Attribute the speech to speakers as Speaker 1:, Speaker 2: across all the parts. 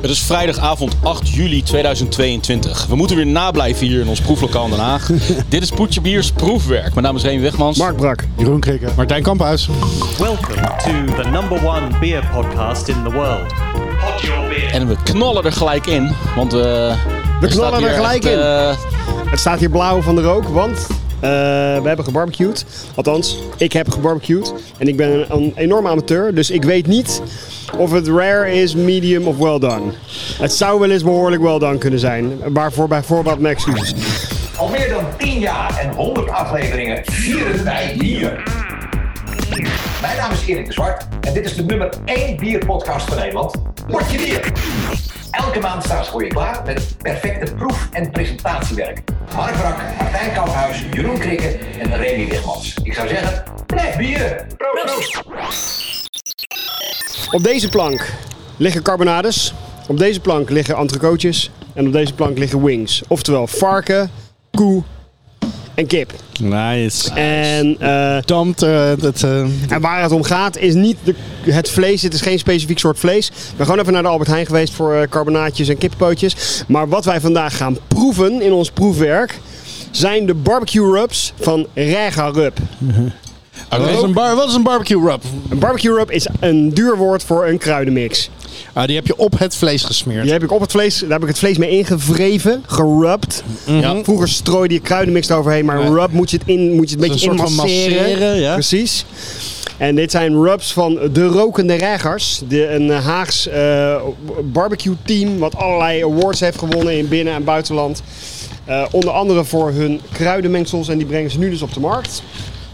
Speaker 1: Het is vrijdagavond 8 juli 2022. We moeten weer nablijven hier in ons proeflokaal in Den Haag. Dit is Poetje Biers Proefwerk. Mijn naam is Reen Wegmans.
Speaker 2: Mark Brak. Jeroen Krikke. Martijn Kamphuis.
Speaker 3: Welcome to the number one beer podcast in the world. Pod your beer.
Speaker 1: En we knallen er gelijk in, want... eh,
Speaker 2: We
Speaker 1: er staat
Speaker 2: knallen er
Speaker 1: hier
Speaker 2: gelijk
Speaker 1: echt,
Speaker 2: in.
Speaker 1: eh,
Speaker 2: Het staat hier blauw van de rook, want eh, we hebben gebarbecued. Althans, ik heb gebarbecued. En ik ben een, een enorme amateur, dus ik weet niet of het rare is, medium of well done. Het zou wel eens behoorlijk well done kunnen zijn. Waarvoor bij voorbaat mijn excuses.
Speaker 4: Al meer dan 10 jaar en 100 afleveringen vieren wij hier. Mijn naam is Erik de Zwart en dit is de nummer 1 bierpodcast van Nederland. Word je bier! Elke maand staan ze voor je klaar met perfecte proef- en presentatiewerk. Mark Brak, Martijn Kamphuis, Jeroen Krikke en Remy Wigmans. Ik zou zeggen, blijf bieren! Proost!
Speaker 2: Op deze plank liggen carbonades. Op deze plank liggen entrecootjes. En op deze plank liggen wings. Oftewel varken, koe en kip.
Speaker 5: Nice.
Speaker 2: En eh,
Speaker 5: Dampt eh, het. eh,
Speaker 2: En waar het om gaat is niet de- het vlees. Het is geen specifiek soort vlees. We zijn gewoon even naar de Albert Heijn geweest voor eh, carbonaatjes en kippenpootjes. Maar wat wij vandaag gaan proeven in ons proefwerk zijn de barbecue rubs van Rega Rub.
Speaker 5: wat, is een bar, wat is een barbecue rub?
Speaker 2: Een barbecue rub is een duur woord voor een kruidenmix.
Speaker 5: Ah, die heb je op het vlees gesmeerd.
Speaker 2: Die heb ik op het vlees, daar heb ik het vlees mee ingevreven, gerubbed.
Speaker 5: Ja.
Speaker 2: Vroeger strooide je kruidenmix eroverheen, maar een rub moet je het, in, moet je het een
Speaker 5: is
Speaker 2: beetje
Speaker 5: een soort van
Speaker 2: inmasseren.
Speaker 5: masseren, ja.
Speaker 2: Precies. En dit zijn rubs van De Rokende Reigers. De, een Haags eh, barbecue team wat allerlei awards heeft gewonnen in binnen- en buitenland. Eh, onder andere voor hun kruidenmengsels en die brengen ze nu dus op de markt.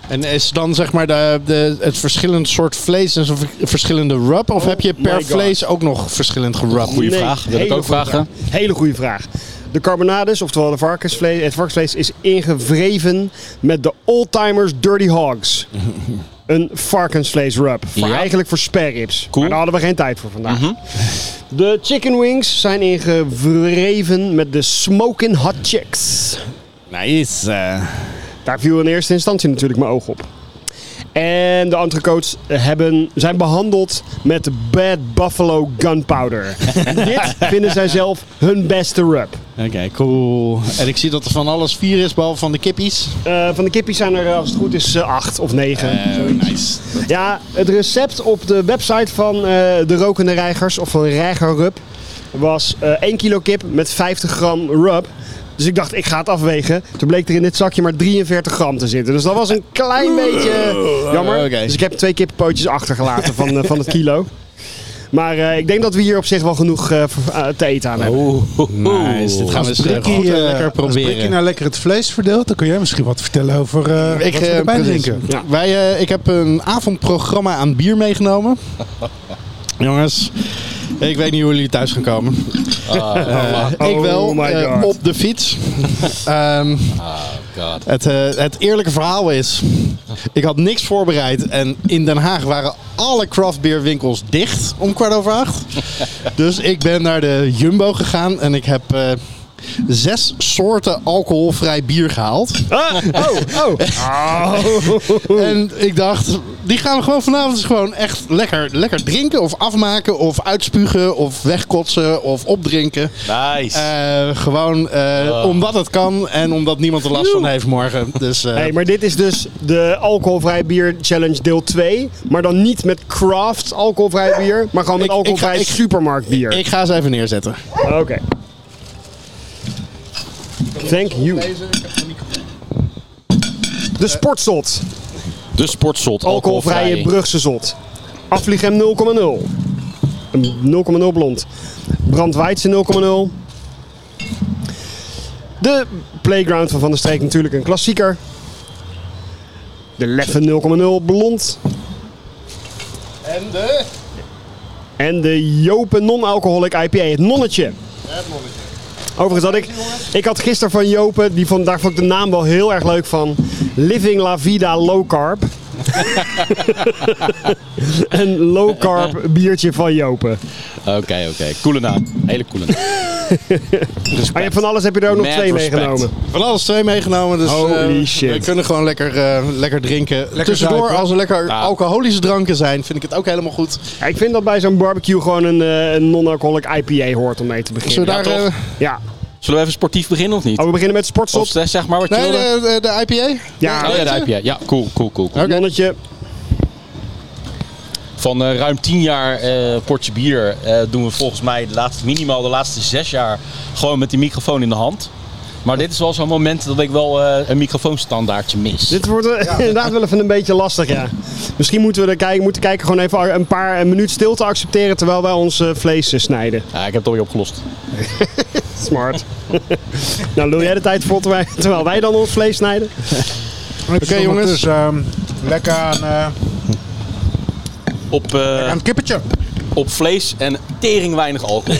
Speaker 5: En is dan zeg maar de, de, het verschillend soort vlees en zo'n v- verschillende rub? Of heb je
Speaker 2: my
Speaker 5: per
Speaker 2: God.
Speaker 5: vlees ook nog verschillend gerubbed?
Speaker 1: Goeie vraag. Wil ik
Speaker 2: hele
Speaker 1: ook
Speaker 2: goede
Speaker 1: vragen?
Speaker 2: vraag. Hele goede vraag. De carbonades, oftewel de varkensvlees, het varkensvlees, is ingevreven met de oldtimers Dirty Hogs. Een varkensvleesrub. Voor
Speaker 1: Ja.
Speaker 2: Eigenlijk voor spareribs.
Speaker 1: Cool.
Speaker 2: Maar daar hadden we geen tijd voor vandaag. De chicken wings zijn ingevreven met de smoking hot chicks.
Speaker 5: Nice.
Speaker 2: Daar viel in eerste instantie natuurlijk mijn oog op. En de entrecoats hebben, zijn behandeld met Bad Buffalo Gunpowder. Dit vinden zij zelf hun beste rub.
Speaker 5: Oké, cool. En ik zie dat er van alles vier is, behalve van de kippies.
Speaker 2: Eh, van de kippies zijn er, als het goed is, eh, acht of negen.
Speaker 5: Eh, nice.
Speaker 2: Ja, het recept op de website van eh, de Rokende Reigers, of van Reiger Rub, was eh 1 kilo kip met 50 gram rub. Dus ik dacht, ik ga het afwegen. Toen bleek er in dit zakje maar 43 gram te zitten. Dus dat was een klein beetje jammer.
Speaker 5: Oké.
Speaker 2: Dus ik heb twee kippenpootjes achtergelaten van, eh, van het kilo. Maar eh, ik denk dat we hier op zich wel genoeg eh, voor- eh, te eten aan hebben.
Speaker 5: Nice. Dit gaan we
Speaker 6: Als
Speaker 5: eens eh,
Speaker 6: Brikkie,
Speaker 5: goed en
Speaker 6: eh,
Speaker 5: lekker
Speaker 6: Als Brikkie
Speaker 5: proberen.
Speaker 6: nou lekker het vlees verdeelt, dan kun jij misschien wat vertellen over eh
Speaker 5: Ik,
Speaker 6: wat we
Speaker 5: eh,
Speaker 6: erbij
Speaker 5: precies.
Speaker 6: drinken.
Speaker 2: Ja.
Speaker 5: Wij, eh, ik heb een avondprogramma aan bier meegenomen. Jongens, ik weet niet hoe jullie thuis gaan komen. Eh, ik
Speaker 2: Ah. oh
Speaker 5: wel,
Speaker 2: my
Speaker 5: eh,
Speaker 2: God.
Speaker 5: op de fiets. Ehm,
Speaker 1: Oh, God.
Speaker 5: het, eh, het eerlijke verhaal is, ik had niks voorbereid. En in Den Haag waren alle craftbeerwinkels dicht om kwart over acht. Dus ik ben naar de Jumbo gegaan en ik heb... eh, Zes soorten alcoholvrij bier gehaald.
Speaker 2: Oh, oh.
Speaker 5: En ik dacht, die gaan we gewoon vanavond eens gewoon echt lekker, lekker drinken of afmaken of uitspugen of wegkotsen of opdrinken.
Speaker 1: Nice.
Speaker 5: Eh, gewoon eh, omdat het kan en omdat niemand er last van heeft morgen. Dus eh,
Speaker 2: Hey, maar dit is dus de alcoholvrij bier challenge deel 2. Maar dan niet met craft alcoholvrij bier, maar gewoon met
Speaker 5: Ik- ik
Speaker 2: alcoholvrij
Speaker 5: ga- ik-
Speaker 2: supermarktbier.
Speaker 5: ik ga ze even neerzetten.
Speaker 2: Oké. Thank you. De sportzot.
Speaker 1: De sportzot.
Speaker 2: Alcoholvrije Brugse zot. Afvliegem 0,0. Een 0,0 blond. Brandweidse 0,0. De Playground van Van der Streek natuurlijk een klassieker. De Leffe 0,0 blond.
Speaker 5: En de...
Speaker 2: En de Jopen Non-Alcoholic IPA, het nonnetje. Overigens had ik, ik had gisteren van Jopen, die vond, daar vond ik de naam wel heel erg leuk van, Living La Vida Low Carb. Een low carb biertje van Jopen.
Speaker 1: Oké, oké. Coole naam. Hele coole naam. Respect.
Speaker 2: Maar je hebt van alles heb je er ook nog
Speaker 1: Mad
Speaker 2: twee
Speaker 1: respect.
Speaker 2: meegenomen.
Speaker 5: Van alles twee meegenomen, dus
Speaker 2: Holy
Speaker 5: eh,
Speaker 2: shit.
Speaker 5: we kunnen gewoon lekker, eh, lekker drinken. Tussendoor,
Speaker 6: zuipen.
Speaker 5: als er lekker
Speaker 1: Ja.
Speaker 5: alcoholische dranken zijn, vind ik het ook helemaal goed.
Speaker 2: Ja, ik vind dat bij zo'n barbecue gewoon een, eh, een non-alcoholic IPA hoort om mee te beginnen.
Speaker 5: Zullen we daar...
Speaker 1: toch?
Speaker 5: eh,
Speaker 2: Ja.
Speaker 1: Zullen we even sportief beginnen of niet?
Speaker 2: Oh, we beginnen met sportsop.
Speaker 1: Of zeg zeg maar wat je
Speaker 5: nee,
Speaker 1: wilde.
Speaker 5: de, de, de IPA?
Speaker 2: Ja,
Speaker 1: Oh ja, daar heb je. Ja, cool, cool, cool. cool.
Speaker 2: het nonnetje.
Speaker 1: Van eh, ruim 10 jaar eh, portje bier eh, doen we volgens mij de laatste, minimaal de laatste zes jaar gewoon met die microfoon in de hand. Maar dit is wel zo'n moment dat ik wel eh, een microfoonstandaardje mis.
Speaker 2: Dit wordt eh, inderdaad wel even een beetje lastig, ja. Misschien moeten we er kijken, moeten kijken gewoon even een paar een minuut stilte accepteren terwijl wij ons eh, vlees eh, snijden.
Speaker 1: Ja, ik heb het alweer opgelost.
Speaker 2: Smart. nou, lul jij de tijd vol terwijl, terwijl wij dan ons vlees snijden?
Speaker 6: Oké
Speaker 5: jongens.
Speaker 6: Dus ehm, lekker aan, eh,
Speaker 1: Op, eh,
Speaker 6: aan het kippetje.
Speaker 1: op vlees en tering weinig alcohol.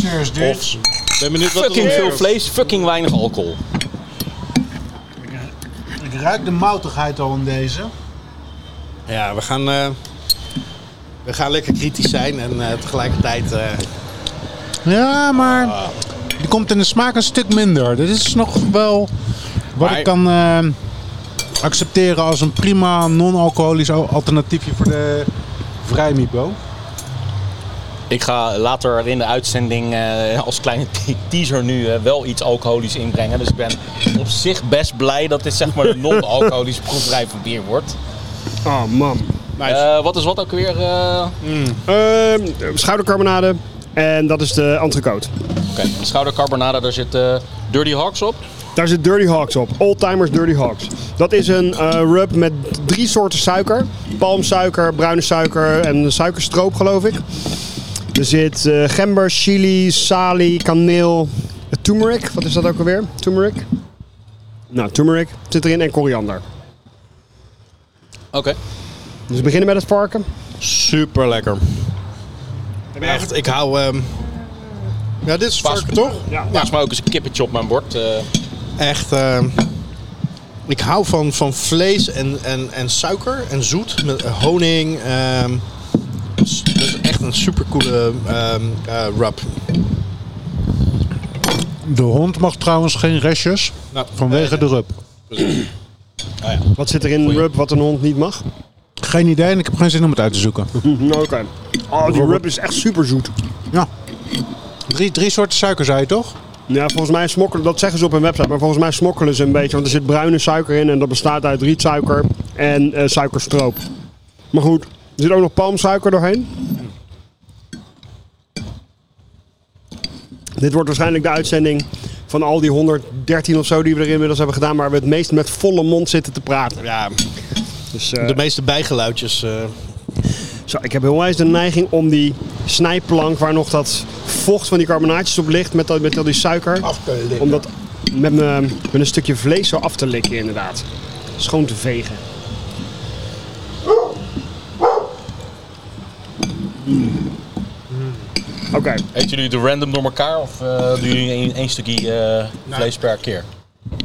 Speaker 6: Cheers, dudes.
Speaker 5: Ben benieuwd wat
Speaker 1: fucking veel vlees, fucking weinig alcohol.
Speaker 6: Ik ruik de moutigheid al in deze.
Speaker 5: Ja, we gaan, eh, we gaan lekker kritisch zijn en eh, tegelijkertijd... eh,
Speaker 6: Ja, maar die komt in de smaak een stuk minder. Dit is nog wel wat
Speaker 1: Maar-
Speaker 6: ik kan eh, accepteren als een prima non-alcoholisch al- alternatiefje voor de vrijmibo.
Speaker 1: Ik ga later in de uitzending eh, als kleine te- teaser nu eh, wel iets alcoholisch inbrengen. Dus ik ben op zich best blij dat dit zeg maar een non-alcoholische proeverij van bier wordt.
Speaker 2: Oh, man.
Speaker 1: Eh, wat is wat ook weer? eh,
Speaker 2: Ehm, schoudercarbonade. En dat is de entrecote.
Speaker 1: Oké, de schoudercarbonade, daar zit eh, Dirty Hawks op.
Speaker 2: Daar zit Dirty Hawks op. Oldtimers Dirty Hawks. Dat is een eh, rub met drie soorten suiker. Palmsuiker, bruine suiker en suikerstroop geloof ik. Er zit eh, gember, chili, salie, kaneel, eh, turmeric. Wat is dat ook alweer? Turmeric? Nou, turmeric zit erin en koriander.
Speaker 1: Oké.
Speaker 2: Dus we beginnen met het varken.
Speaker 5: Super lekker. Echt, ik hou. ehm, ja, dit is
Speaker 1: Pas-
Speaker 5: varken toch?
Speaker 2: Ja.
Speaker 1: Naast mij ook eens een kippetje op mijn bord. eh.
Speaker 5: Echt. ehm, ik hou van, van vlees en, en, en suiker en zoet met eh, honing. ehm dus dat is echt een super coole ehm, eh, rub.
Speaker 6: De hond mag trouwens geen restjes
Speaker 5: Nou,
Speaker 6: vanwege de rub.
Speaker 1: oh ja.
Speaker 2: Wat zit er in
Speaker 1: Goeie.
Speaker 2: rub wat een hond niet mag?
Speaker 6: Geen idee en ik heb geen zin om het uit te zoeken.
Speaker 2: Oké. Oh, die rub is echt super zoet.
Speaker 6: Ja. Drie, drie soorten suiker zei je toch?
Speaker 2: Ja, volgens mij smokkelen, dat zeggen ze op hun website, maar volgens mij smokkelen ze een beetje. Want er zit bruine suiker in en dat bestaat uit rietsuiker en eh, suikerstroop. Maar goed, er zit ook nog palmsuiker doorheen. Dit wordt waarschijnlijk de uitzending van al die 113 of zo die we er inmiddels hebben gedaan, waar we het meest met volle mond zitten te praten.
Speaker 5: ja,
Speaker 2: Dus eh,
Speaker 5: de meeste bijgeluidjes. eh,
Speaker 2: zo, ik heb heel eens de neiging om die snijplank waar nog dat vocht van die carbonaatjes op ligt met, dat, met al die suiker.
Speaker 5: af te likken.
Speaker 2: Om dat met, me, met een stukje vlees zo af te likken, inderdaad. Schoon te vegen. Mm. Oké,
Speaker 1: Eten jullie de random door elkaar of eh, doen jullie één, één stukje eh, vlees per keer?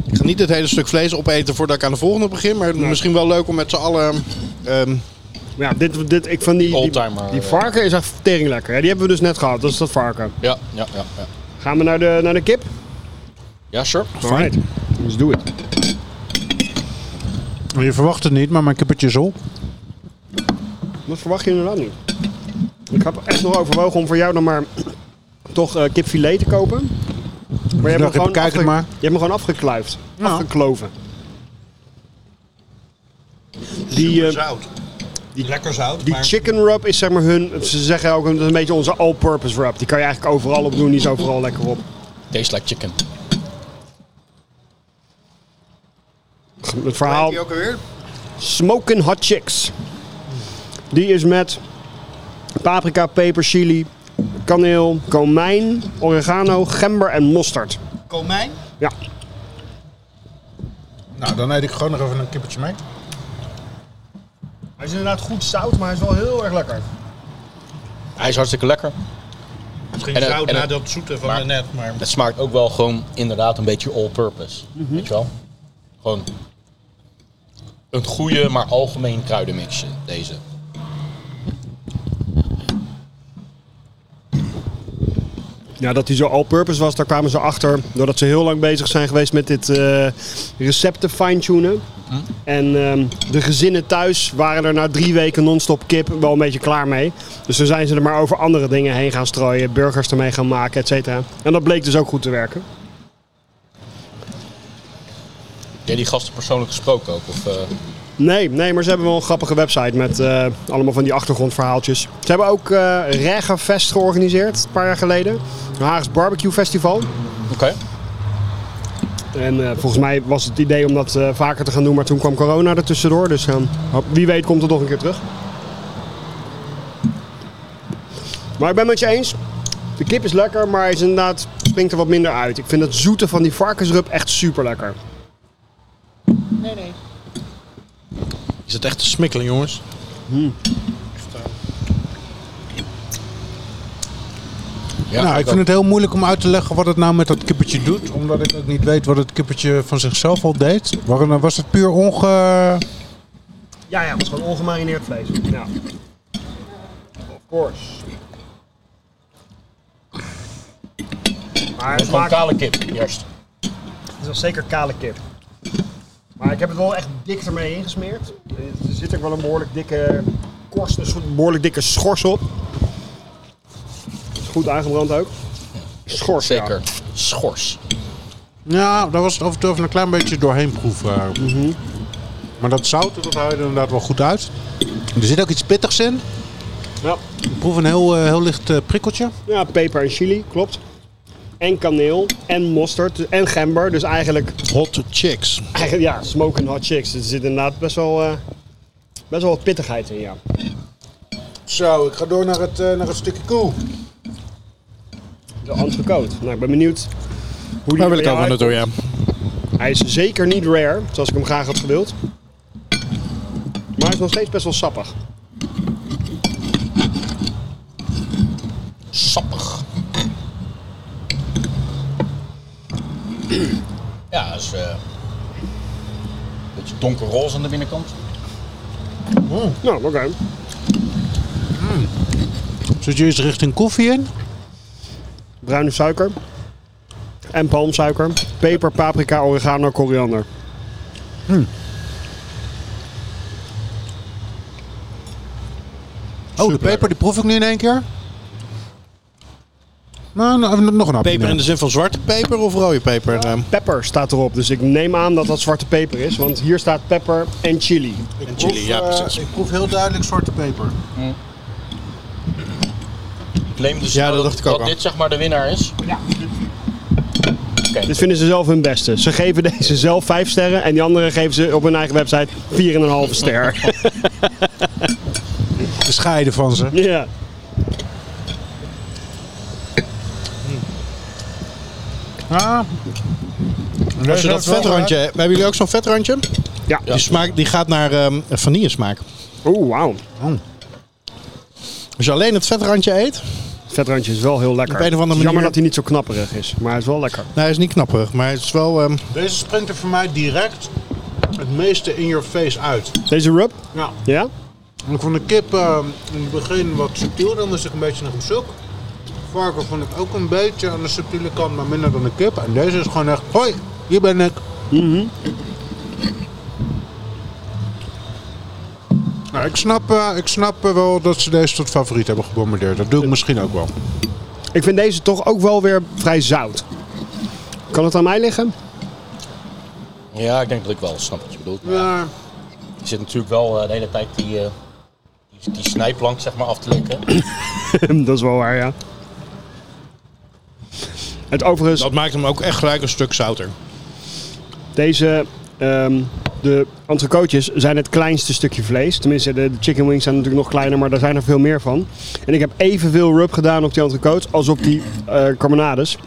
Speaker 5: Ik ga niet het hele stuk vlees opeten voordat ik aan de volgende begin. Maar misschien wel leuk om met z'n allen. ehm,
Speaker 2: maar ja, dit, dit, ik van die, die,
Speaker 1: Oldtimer,
Speaker 2: die
Speaker 1: eh.
Speaker 2: varken is echt tering lekker. Die hebben we dus net gehad, dat is dat varken.
Speaker 1: Ja, ja, ja. Ja,
Speaker 2: Gaan we naar de, naar de kip?
Speaker 1: ja sure.
Speaker 2: Alright, let's do it.
Speaker 6: Je verwacht het niet, maar mijn kippetje is op.
Speaker 2: Dat verwacht je inderdaad niet. Ik heb echt nog overwogen om voor jou dan maar toch eh, kipfilet te kopen. Maar je hebt, me
Speaker 6: dacht,
Speaker 2: gewoon
Speaker 6: bekijk het
Speaker 2: afge-
Speaker 6: maar.
Speaker 2: je hebt me gewoon afgekluift. Afgekloven. Die, eh,
Speaker 5: zout. Lekker zout.
Speaker 2: die chicken rub is zeg maar hun, ze zeggen ook dat is een beetje onze all-purpose rub. Die kan je eigenlijk overal op doen, die is overal lekker op.
Speaker 1: Tastes like chicken.
Speaker 2: Het verhaal
Speaker 5: ook alweer?
Speaker 2: Smoking Hot Chicks. Die is met paprika, peper, chili, kaneel, komijn, oregano, gember en mosterd.
Speaker 5: Komijn.
Speaker 2: Ja,
Speaker 6: Nou, dan eet ik gewoon nog even een kippetje mee.
Speaker 2: Hij is inderdaad goed zout, maar hij is wel heel erg lekker.
Speaker 1: Hij is hartstikke lekker.
Speaker 5: Misschien
Speaker 1: En
Speaker 6: eh,
Speaker 1: het- en het-
Speaker 5: dat zoete van
Speaker 1: maar-
Speaker 5: net. Maar...
Speaker 1: Het smaakt ook wel gewoon inderdaad een beetje all-purpose. Weet je wel? Gewoon een goede, maar algemeen kruidenmixje, deze.
Speaker 2: Ja, dat hij zo all-purpose was, daar kwamen ze achter. Doordat ze heel lang bezig zijn geweest met dit eh, recepten fine-tunen.
Speaker 5: Hm?
Speaker 2: En ehm, de gezinnen thuis waren er na drie weken non-stop kip wel een beetje klaar mee. Dus toen zijn ze er maar over andere dingen heen gaan strooien. Burgers ermee gaan maken, et cetera. En dat bleek dus ook goed te werken.
Speaker 1: Heb jij die gasten persoonlijk gesproken ook? Of, eh,
Speaker 2: Nee, nee, maar ze hebben wel een grappige website met eh, allemaal van die achtergrondverhaaltjes. Ze hebben ook eh Regenfest georganiseerd, een paar jaar geleden. Een Haags Barbecue Festival.
Speaker 1: Oké.
Speaker 2: En eh, volgens mij was het idee om dat eh, vaker te gaan doen, maar toen kwam corona er tussendoor. Dus eh, wie weet komt het nog een keer terug. Maar ik ben het met je eens. De kip is lekker, maar hij is inderdaad, springt er wat minder uit. Ik vind het zoete van die varkensrub echt super lekker.
Speaker 5: Is het echt te smikkelen, jongens?
Speaker 1: Ja,
Speaker 6: nou, ik vind het heel moeilijk om uit te leggen wat het nou met dat kippertje doet. Omdat ik ook niet weet wat het kippertje van zichzelf al deed. Waarom was het puur onge...
Speaker 2: Ja, ja, het is gewoon ongemarineerd vlees. Ja. Of course. Maar
Speaker 1: Het is
Speaker 2: het
Speaker 1: gewoon
Speaker 2: maakt,
Speaker 1: kale kip, eerst.
Speaker 2: het is wel zeker kale kip. Maar ik heb het wel echt dik ermee ingesmeerd. Er zit ook wel een behoorlijk dikke korst, een soort behoorlijk dikke schors op. Is Goed aangebrand ook. Schors, ja.
Speaker 1: Zeker. Schors.
Speaker 6: Ja, daar was het af en toe even een klein beetje doorheen proeven. Maar dat zout, dat houdt inderdaad wel goed uit. Er zit ook iets pittigs in.
Speaker 2: Ja.
Speaker 6: Ik proef een heel, eh, heel licht eh, prikkeltje.
Speaker 2: ja, peper en chili, klopt. En kaneel, en mosterd, en gember. Dus eigenlijk
Speaker 5: Hot chicks.
Speaker 2: Eigenlijk, ja, smoking hot chicks. Er zit inderdaad best wel, eh, best wel wat pittigheid in, ja.
Speaker 6: Zo, ik ga door naar het, eh, naar het stukje koe.
Speaker 2: De entrecote. Nou, ik ben benieuwd hoe die
Speaker 5: Daar
Speaker 2: er
Speaker 5: wil ik
Speaker 2: bij
Speaker 5: ook wel
Speaker 2: jou
Speaker 5: naartoe, ja.
Speaker 2: uitkomt. Hij is zeker niet rare, zoals ik hem graag had gewild. Maar hij is nog steeds best wel sappig.
Speaker 1: Sappig. Ja, dat is... eh, een beetje donkerroze aan de binnenkant.
Speaker 2: Nou, oké.
Speaker 6: Zit je eens richting koffie in?
Speaker 2: Bruine suiker. En palmsuiker. Peper, paprika, oregano, koriander.
Speaker 6: Oh, de peper die proef ik nu in één keer. Nou, nou, nog een hapje.
Speaker 5: Peper in de zin van zwarte peper of rode peper? ehm?
Speaker 2: Pepper staat erop, dus ik neem aan dat dat zwarte peper is. Want hier staat pepper en chili.
Speaker 5: En chili, ja precies.
Speaker 6: ik proef heel duidelijk zwarte peper.
Speaker 1: Claim dus
Speaker 5: Ja, dat
Speaker 1: dat,
Speaker 5: dacht ik ook
Speaker 1: dat
Speaker 5: al.
Speaker 1: dit zeg maar de winnaar is.
Speaker 2: Dit vinden ze zelf hun beste. Ze geven deze zelf 5 sterren en die andere geven ze op hun eigen website 4,5 ster.
Speaker 6: De scheiden van ze.
Speaker 2: ja.
Speaker 5: Als je dat vetrandje... Hebben jullie ook zo'n vetrandje?
Speaker 2: Ja.
Speaker 5: Die, smaak, die gaat naar ehm vanille smaak.
Speaker 2: Oeh, wauw.
Speaker 5: Als je alleen het vetrandje eet...
Speaker 2: Het vetrandje is wel heel lekker.
Speaker 5: Op een of andere
Speaker 2: Het is Jammer
Speaker 5: manier-
Speaker 2: dat hij niet zo knapperig is, maar hij is wel lekker.
Speaker 5: Nou, hij is niet knapperig, maar het is wel... ehm,
Speaker 6: Deze springt er voor mij direct het meeste in your face uit. Nou,
Speaker 2: Deze rub?
Speaker 6: Ja.
Speaker 2: Ja?
Speaker 6: Ik vond de kip ehm, in het begin wat subtiel, dan was ik een beetje naar op zoek. Varken vond ik ook een beetje aan de subtiele kant, maar minder dan de kip. En deze is gewoon echt, hoi, hier ben ik. Nou, ik snap, eh, ik snap eh, wel dat ze deze tot favoriet hebben gebombardeerd. Dat doe ik misschien ook wel.
Speaker 2: Ik vind deze toch ook wel weer vrij zout. Kan het aan mij liggen?
Speaker 1: Ja, ik denk dat ik wel snap wat je bedoelt. maar
Speaker 6: Ja,
Speaker 1: Je zit natuurlijk wel eh, de hele tijd die, eh, die, die snijplank zeg maar, af te likken.
Speaker 2: dat is wel waar, ja. Het overigens,
Speaker 5: dat maakt hem ook echt gelijk een stuk zouter.
Speaker 2: Deze, ehm, de entrecootjes zijn het kleinste stukje vlees. Tenminste, de, de chicken wings zijn natuurlijk nog kleiner, maar daar zijn er veel meer van. En ik heb evenveel rub gedaan op die entrecote als op die eh carbonades.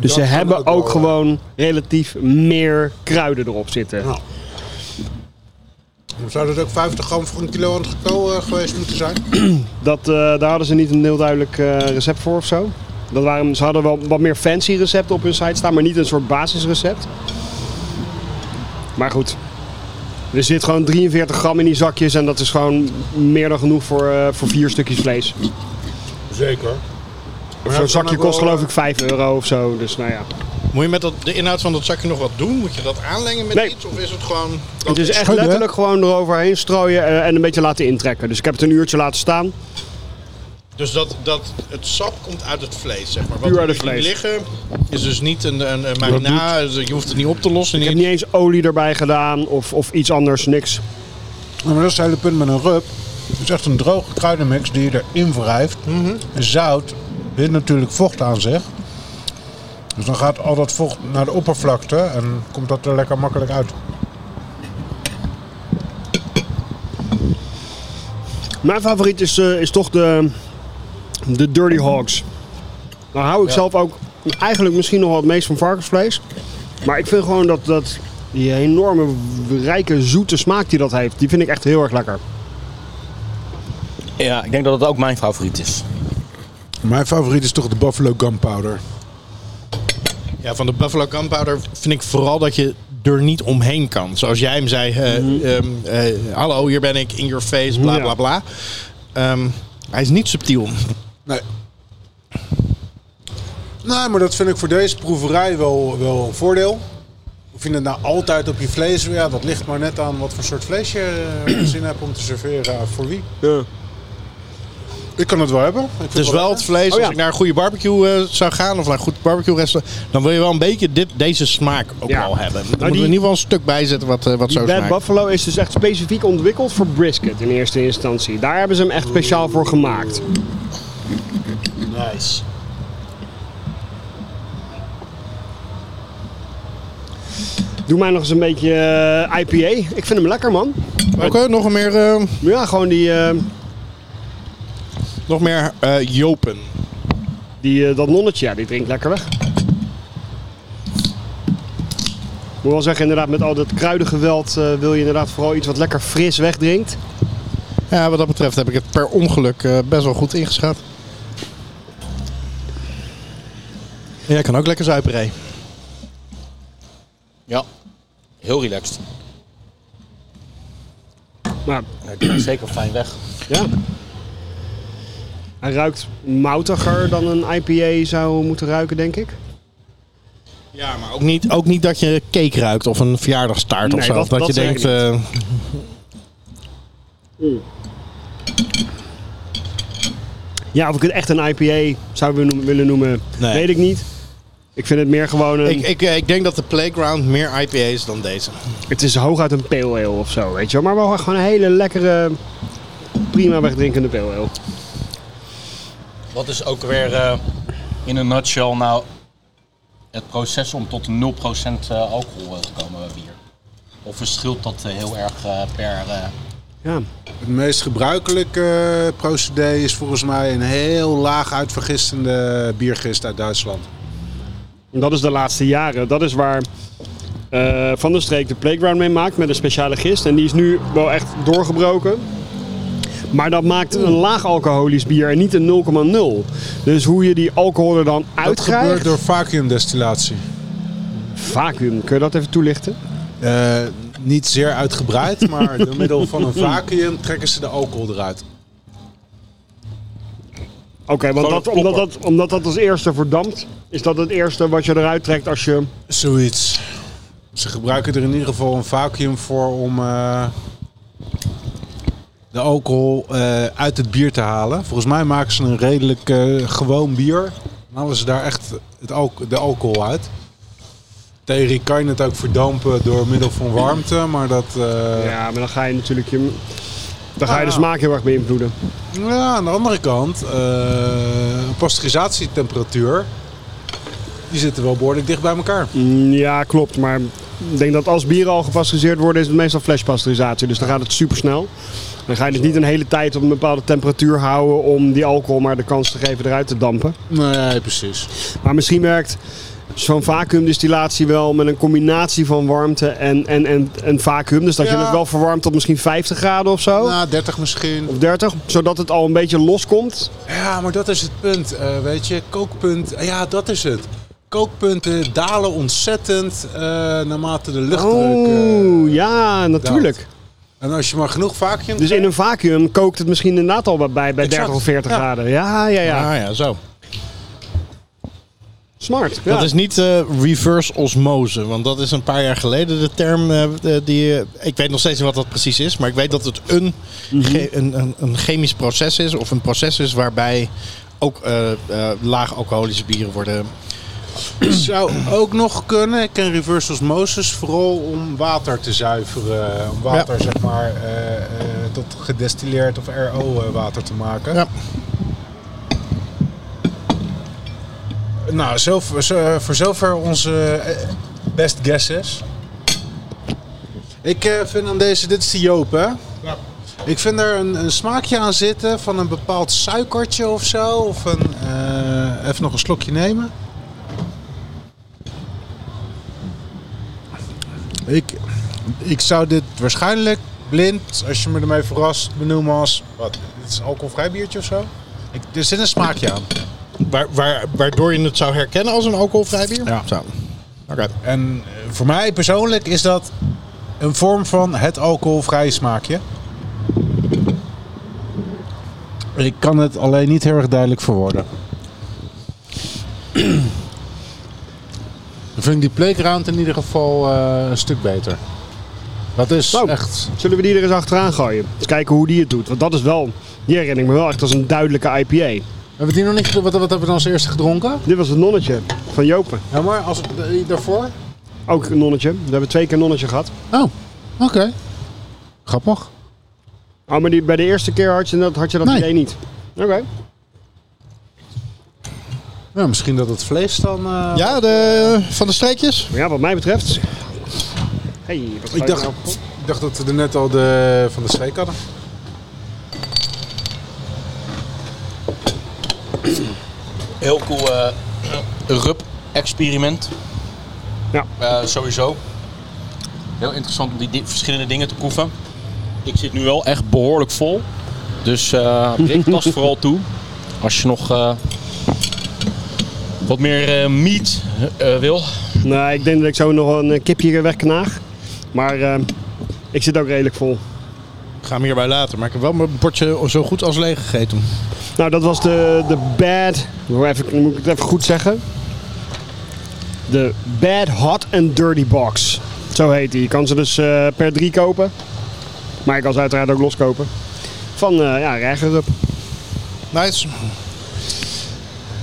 Speaker 2: Dus ze
Speaker 6: kan
Speaker 2: hebben ook,
Speaker 6: ook wel, ja.
Speaker 2: gewoon relatief meer kruiden erop zitten.
Speaker 6: Ja. Eh, zou dat ook 50 gram voor een kilo aan eh, geweest moeten zijn?
Speaker 2: Dat, eh, daar hadden ze niet een heel duidelijk eh, recept voor of zo. Dat waren, ze hadden wel wat meer fancy recepten op hun site staan, maar niet een soort basisrecept. Maar goed, Er zit gewoon 43 gram in die zakjes en dat is gewoon meer dan genoeg voor, eh, voor vier stukjes vlees.
Speaker 6: Zeker. Maar
Speaker 2: Zo'n
Speaker 6: dat kan
Speaker 2: zakje
Speaker 6: ook wel- eh,
Speaker 2: kost geloof ik 5 euro of zo, dus nou ja.
Speaker 5: Moet je met dat, de inhoud van dat zakje nog wat doen? Moet je dat aanlengen met
Speaker 2: Nee.
Speaker 5: iets? Of is het gewoon...
Speaker 2: Het is echt
Speaker 6: schudden, hè?
Speaker 2: letterlijk gewoon eroverheen strooien eh, en een beetje laten intrekken. Dus ik heb het een uurtje laten staan.
Speaker 5: Dus dat, dat het sap komt uit het vlees, zeg maar. Wat
Speaker 2: Puur uit
Speaker 5: er
Speaker 2: het
Speaker 5: nu
Speaker 2: vlees.
Speaker 5: liggen is dus niet een, een, een marinade. dus Je hoeft het niet op te lossen.
Speaker 2: Ik heb
Speaker 5: niet-
Speaker 2: niet eens olie erbij gedaan of, of iets anders, niks.
Speaker 6: Maar dat is het hele punt met een rub. Het is echt een droge kruidenmix die je erin wrijft.
Speaker 5: Mhm.
Speaker 6: Zout bindt natuurlijk vocht aan zich. Dus dan gaat al dat vocht naar de oppervlakte en komt dat er lekker makkelijk uit.
Speaker 2: Mijn favoriet is, eh, is toch de, de Dirty Hogs. Nou hou ik zelf ook eigenlijk misschien nog wel het meest van varkensvlees. Maar ik vind gewoon dat, dat die enorme rijke zoete smaak die dat heeft, die vind ik echt heel erg lekker.
Speaker 1: Ja, ik denk dat dat ook mijn favoriet is.
Speaker 6: Mijn favoriet is toch de Buffalo Gunpowder.
Speaker 5: Ja, van de Buffalo Gunpowder vind ik vooral dat je er niet omheen kan. Zoals jij hem zei, eh, ehm, eh, hallo, hier ben ik, in your face, bla
Speaker 2: Mhm. Ja.
Speaker 5: bla bla. Ehm, hij is niet subtiel.
Speaker 6: Nee. Nee, maar dat vind ik voor deze proeverij wel, wel een voordeel. Of je het nou altijd op je vlees... Ja, dat ligt maar net aan wat voor soort vlees je eh, zin hebt om te serveren. eh, Voor wie. Ik kan het wel hebben. Ik vind
Speaker 5: Het is wel het
Speaker 6: lekker.
Speaker 5: vlees,
Speaker 2: Oh,
Speaker 5: als
Speaker 2: ja.
Speaker 5: ik naar een goede barbecue eh, zou gaan of naar een goed barbecue restaurant, dan wil je wel een beetje dit, deze smaak ook
Speaker 2: Ja. Nou,
Speaker 5: wel hebben. Dan moeten we
Speaker 2: die-
Speaker 5: in ieder geval een stuk bijzetten wat, eh, wat
Speaker 2: Die
Speaker 5: zo
Speaker 2: Bad
Speaker 5: smaakt.
Speaker 2: Buffalo is dus echt specifiek ontwikkeld voor brisket in eerste instantie. Daar hebben ze hem echt speciaal voor gemaakt.
Speaker 5: Nice.
Speaker 2: Doe mij nog eens een beetje eh, IPA. Ik vind hem lekker man.
Speaker 5: Oké, nog meer, eh,
Speaker 2: Ja, gewoon die, eh,
Speaker 5: nog meer eh, Jopen.
Speaker 2: Die, eh, dat nonnetje, ja, die drinkt lekker weg. Ik moet wel zeggen, inderdaad, met al dat kruidengeweld eh wil je inderdaad vooral iets wat lekker fris wegdrinkt.
Speaker 5: Ja, wat dat betreft heb ik het per ongeluk eh, best wel goed ingeschat. En Jij kan ook lekker zuipen, Ray.
Speaker 1: Ja, heel relaxed.
Speaker 2: Maar
Speaker 1: Nee, die is zeker fijn weg.
Speaker 2: ja, hij ruikt moutiger dan een IPA zou moeten ruiken, denk ik.
Speaker 5: Ja, maar ook niet, ook niet dat je cake ruikt of een verjaardagstaart
Speaker 2: Nee,
Speaker 5: of zo.
Speaker 2: dat-
Speaker 5: Of dat,
Speaker 2: dat
Speaker 5: je
Speaker 2: zeker
Speaker 5: denkt... eh,
Speaker 2: Ja, of ik het echt een IPA zou willen- willen noemen,
Speaker 5: Nee.
Speaker 2: weet ik niet. Ik vind het meer gewoon een...
Speaker 5: ik, ik, eh, ik denk dat de Playground meer IPA is dan deze.
Speaker 2: Het is hooguit een pale ale of zo, weet je wel. Maar wel gewoon een hele lekkere, prima wegdrinkende pale ale.
Speaker 1: Wat is ook weer eh, in een nutshell nou het proces om tot 0% eh, alcohol eh, te komen bij bier? Of verschilt dat eh, heel erg eh, per... eh,
Speaker 2: Ja,
Speaker 6: Het meest gebruikelijke eh, procedé is volgens mij een heel laag uitvergistende biergist uit Duitsland.
Speaker 2: En Dat is de laatste jaren. Dat is waar eh, Van der Streek de playground mee maakt met een speciale gist. En die is nu wel echt doorgebroken. Maar dat maakt een laag alcoholisch bier en niet een 0,0. Dus hoe je die alcohol er dan uit
Speaker 6: Dat gebeurt
Speaker 2: krijgt.
Speaker 6: door vacuümdestillatie.
Speaker 2: Vacuüm, kun je dat even toelichten?
Speaker 6: Eh, niet zeer uitgebreid, maar door middel van een vacuüm trekken ze de alcohol eruit.
Speaker 2: Oké, want
Speaker 1: Gewoon
Speaker 2: dat,
Speaker 1: een
Speaker 2: omdat, dat, omdat dat als eerste verdampt, is dat het eerste wat je eruit trekt als je...
Speaker 6: Zoiets. Ze gebruiken er in ieder geval een vacuüm voor om eh, de alcohol eh, uit het bier te halen. Volgens mij maken ze een redelijk eh, gewoon bier. Dan halen ze daar echt het alco- de alcohol uit. Theorie kan je het ook verdampen door middel van warmte, maar dat... eh,
Speaker 2: Ja, maar dan ga je natuurlijk je... Dan ga je de
Speaker 6: Ah.
Speaker 2: smaak heel erg beïnvloeden.
Speaker 6: Ja, aan de andere kant, eh, een pasteurisatietemperatuur, die zitten wel behoorlijk dicht bij elkaar.
Speaker 2: Mm, Ja, klopt. Maar ik denk dat als bieren al gepasteuriseerd worden, is het meestal flashpasteurisatie. Dus dan gaat het super snel. Dan ga je dus niet een hele tijd op een bepaalde temperatuur houden om die alcohol maar de kans te geven eruit te dampen.
Speaker 6: Nee, precies.
Speaker 2: Maar misschien werkt zo'n vacuümdistillatie wel met een combinatie van warmte en, en, en, en vacuüm. Dus dat je
Speaker 6: Ja.
Speaker 2: het wel verwarmt tot misschien 50 graden of zo.
Speaker 6: Na 30 misschien.
Speaker 2: Of 30, zodat het al een beetje loskomt.
Speaker 6: Ja, maar dat is het punt. eh, weet je, kookpunt. Ja, dat is het. Kookpunten dalen ontzettend eh, naarmate de luchtdruk. eh,
Speaker 2: Oh, ja, natuurlijk.
Speaker 6: En als je maar genoeg vacuüm...
Speaker 2: Dus in een vacuüm kookt het misschien inderdaad al bij, bij 30 of 40
Speaker 6: Ja.
Speaker 2: graden. Ja, ja, ja.
Speaker 5: Ah ja, zo.
Speaker 2: Smart. Ja.
Speaker 5: Dat is niet eh, reverse osmose, want dat is een paar jaar geleden de term eh, de- die... eh, ik weet nog steeds niet wat dat precies is, maar ik weet dat het een,
Speaker 6: Mhm.
Speaker 5: che- een, een, een chemisch proces is of een proces is waarbij ook eh, eh, laag alcoholische bieren worden...
Speaker 6: zou ook nog kunnen. Ik ken reverse osmosis vooral om water te zuiveren. Om water, zeg maar, eh, eh, tot gedestilleerd of RO-water te maken.
Speaker 5: Ja.
Speaker 6: Nou, zo, zo- voor zover onze eh, best guesses. Ik eh, vind aan deze, dit is de Joop, hè? Ik vind er een, een smaakje aan zitten van een bepaald suikertje of zo. Of een, eh, even nog een slokje nemen. Ik, ik zou dit waarschijnlijk blind, als je me ermee verrast, benoemen als... Wat, dit is een alcoholvrij biertje of zo? Ik, er zit een smaakje aan.
Speaker 5: Waar, waar, waardoor je het zou herkennen als een alcoholvrij bier?
Speaker 6: Ja.
Speaker 5: Zo. Oké.
Speaker 6: En eh, voor mij persoonlijk is dat een vorm van het alcoholvrije smaakje. Ik kan het alleen niet heel erg duidelijk verwoorden.
Speaker 5: Dan vind ik die playground in ieder geval eh, een stuk beter.
Speaker 6: Dat is
Speaker 2: Nou,
Speaker 6: echt.
Speaker 2: Zullen we die er eens achteraan gooien? Eens kijken hoe die het doet. Want dat is wel, die herinner ik me wel echt als een duidelijke IPA.
Speaker 5: Hebben we die nog niet... Wat, hebben we dan als eerste gedronken?
Speaker 2: Dit was het nonnetje van Jopen.
Speaker 5: Ja, maar als,
Speaker 6: eh,
Speaker 5: daarvoor?
Speaker 2: Ook een nonnetje. We hebben twee keer nonnetje gehad.
Speaker 5: Oh, oké. Grappig.
Speaker 2: Oh, maar die, bij de eerste keer had je dat, had je dat
Speaker 5: Nee.
Speaker 2: idee niet. Oké.
Speaker 6: Nou, misschien dat het vlees dan. eh,
Speaker 5: Ja, de, van de streekjes?
Speaker 2: Maar ja, wat mij betreft... Hey, wat nou-
Speaker 6: ik, dacht, ik dacht dat we er net al de van de streek hadden.
Speaker 1: Heel cool eh, rup-experiment.
Speaker 2: Ja.
Speaker 1: Eh, sowieso. Heel interessant om die di- verschillende dingen te proeven. Ik zit nu wel echt behoorlijk vol. Dus eh ik tas vooral toe. Als je nog eh, wat meer eh, meat eh, wil.
Speaker 2: Nou, ik denk dat ik zo nog een eh, kipje wegknaag. Maar eh, ik zit ook redelijk vol.
Speaker 5: Ik ga hem hierbij laten, maar ik heb wel mijn bordje zo goed als leeg gegeten.
Speaker 2: Nou, dat was de, de Bad. Hoe even, moet ik het even goed zeggen? De Bad Hot and Dirty Box. Zo heet die. Je kan ze dus eh, per drie kopen. Maar ik kan ze uiteraard ook loskopen. Van eh ja, Rijgerup.
Speaker 5: Nice.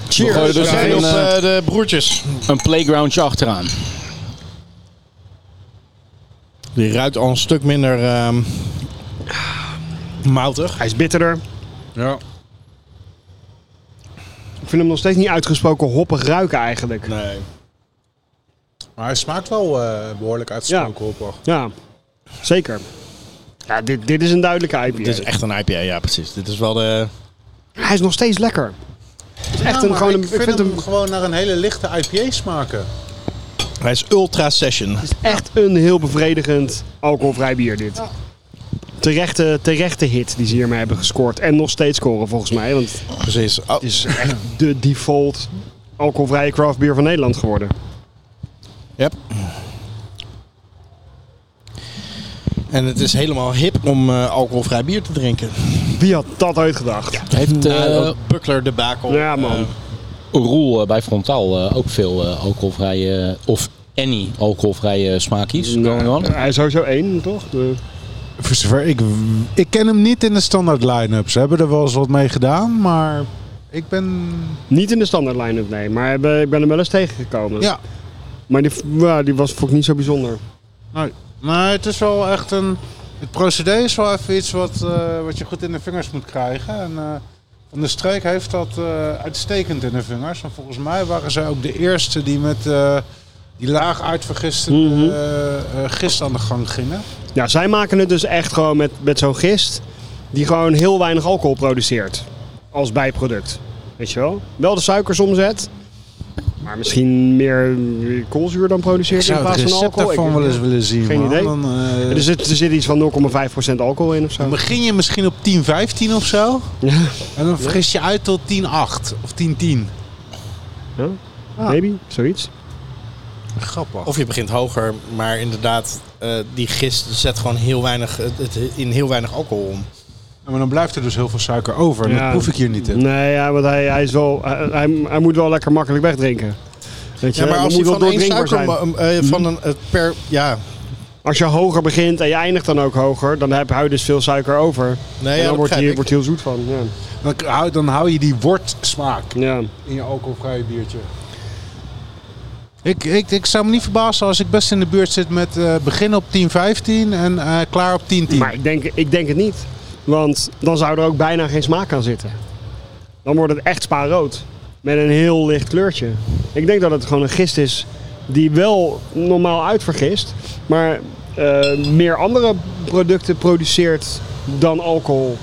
Speaker 1: Cheers. We gooien
Speaker 5: We
Speaker 1: dus
Speaker 5: zijn op
Speaker 1: een, eh,
Speaker 5: eh, de broertjes.
Speaker 1: een playgroundje achteraan.
Speaker 5: Die ruikt al een stuk minder ehm, moutig.
Speaker 2: Hij is bitterder.
Speaker 5: Ja.
Speaker 2: Ik vind hem nog steeds niet uitgesproken hoppig ruiken eigenlijk.
Speaker 5: Nee.
Speaker 6: Maar hij smaakt wel eh, behoorlijk uitgesproken hoppig.
Speaker 2: Ja, zeker. Ja, dit, dit is een duidelijke IPA.
Speaker 5: Dit is echt een IPA, ja precies. Dit is wel de...
Speaker 2: Hij is nog steeds lekker. Het is echt
Speaker 6: Ja,
Speaker 2: een,
Speaker 6: Nou, maar
Speaker 2: gewoon een,
Speaker 6: ik vind, hem gewoon naar een hele lichte IPA smaken.
Speaker 5: Hij is ultra session.
Speaker 2: Echt een heel bevredigend alcoholvrij bier dit. Terechte, terechte hit die ze hiermee hebben gescoord. En nog steeds scoren volgens mij. Want het
Speaker 5: Precies. Oh,
Speaker 2: is echt de default alcoholvrije craft beer van Nederland geworden.
Speaker 5: Yep. En het is helemaal hip om eh, alcoholvrij bier te drinken.
Speaker 2: Wie had dat ooit gedacht? Ja,
Speaker 1: Heeft eh,
Speaker 5: Ja, dat Buckler debakel.
Speaker 2: man.
Speaker 5: Eh,
Speaker 1: Roel eh, bij Frontaal eh, ook veel eh, alcoholvrije of any alcoholvrije smaakjes going on.
Speaker 2: hij is sowieso één, toch? De-
Speaker 6: Voor zover ik, ik ken hem niet in de standaard line-up. Ze hebben er wel eens wat mee gedaan, maar ik ben.
Speaker 2: niet in de standaard line-up, nee. Maar ik ben ik ben hem wel eens tegengekomen.
Speaker 6: Ja,
Speaker 2: Maar die, ja, die was vond ik niet zo bijzonder.
Speaker 6: nee. Nou, Maar het is wel echt een. Het procedé is wel even iets wat, eh, wat je goed in de vingers moet krijgen. En eh, Van de Streek heeft dat eh, uitstekend in de vingers. En volgens mij waren zij ook de eerste die met eh, die laag uitvergiste
Speaker 2: Mhm.
Speaker 6: eh, eh, gist aan de gang gingen.
Speaker 2: Ja, zij maken het dus echt gewoon met, met zo'n gist die gewoon heel weinig alcohol produceert als bijproduct. Weet je wel? Wel de suikers omzet, maar misschien meer eh, koolzuur dan produceert in plaats van alcohol. Ik-
Speaker 6: willen zien.
Speaker 2: Geen man. idee. Dan, Er
Speaker 6: dus
Speaker 2: zit, er zit iets van 0,5% alcohol in of zo.
Speaker 6: begin je misschien op 10, 15 of zo.
Speaker 2: Ja,
Speaker 6: En dan vergis je uit tot 10-8 of 10-10.
Speaker 2: Ah. maybe, zoiets.
Speaker 6: Grappig.
Speaker 5: Eh, Of je begint hoger, maar inderdaad, eh, die gist zet gewoon heel weinig, het, het in heel weinig alcohol om.
Speaker 6: Ja, maar dan blijft er dus heel veel suiker over. En
Speaker 2: Ja.
Speaker 6: dat proef ik hier niet in.
Speaker 2: Nee, ja, want hij, hij, is wel, hij, hij- hij moet wel lekker makkelijk wegdrinken. Weet je,
Speaker 5: Ja, maar
Speaker 2: dat
Speaker 5: als je
Speaker 2: moet wel
Speaker 5: van één
Speaker 2: doordrinkbaar
Speaker 5: suiker
Speaker 2: zijn. Mhm.
Speaker 5: eh, van een eh, per, ja,
Speaker 2: Als je hoger begint en je eindigt dan ook hoger, dan heb je dus veel suiker over.
Speaker 5: Nee,
Speaker 2: en
Speaker 5: ja,
Speaker 2: dan
Speaker 5: dat
Speaker 2: wordt
Speaker 5: begrijp
Speaker 2: hij
Speaker 5: ik.
Speaker 2: wordt hij heel zoet van. Ja.
Speaker 6: Dan, k- hou, dan hou je die wortsmaak
Speaker 2: Ja.
Speaker 6: in je alcoholvrije biertje. Ik, ik, ik zou me niet verbazen als ik best in de buurt zit met eh, begin op 10-15 en eh, klaar op 10-10.
Speaker 2: Maar ik denk, ik denk het niet. Want dan zou er ook bijna geen smaak aan zitten. Dan wordt het echt spaarrood. Met een heel licht kleurtje. Ik denk dat het gewoon een gist is die wel normaal uitvergist. Maar eh, meer andere producten produceert dan alcohol.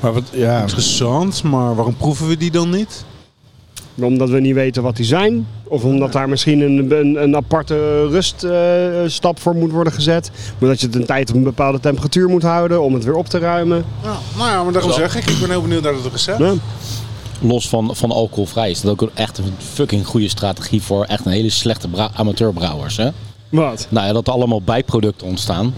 Speaker 5: maar wat, ja.
Speaker 6: Interessant, maar waarom proeven we die dan niet?
Speaker 2: Omdat we niet weten wat die zijn. Of omdat daar misschien een, een, een aparte ruststap voor moet worden gezet. Maar dat je het een tijd op een bepaalde temperatuur moet houden om het weer op te ruimen.
Speaker 6: Nou, nou ja, maar daarom
Speaker 1: Zo.
Speaker 6: zeg ik. Ik ben heel benieuwd naar het recept.
Speaker 2: Ja.
Speaker 1: Los van, van alcoholvrij is dat ook een- echt een fucking goede strategie voor echt een hele slechte brou- amateurbrouwers. Hè?
Speaker 2: Wat?
Speaker 1: Nou ja, dat er allemaal bijproducten ontstaan.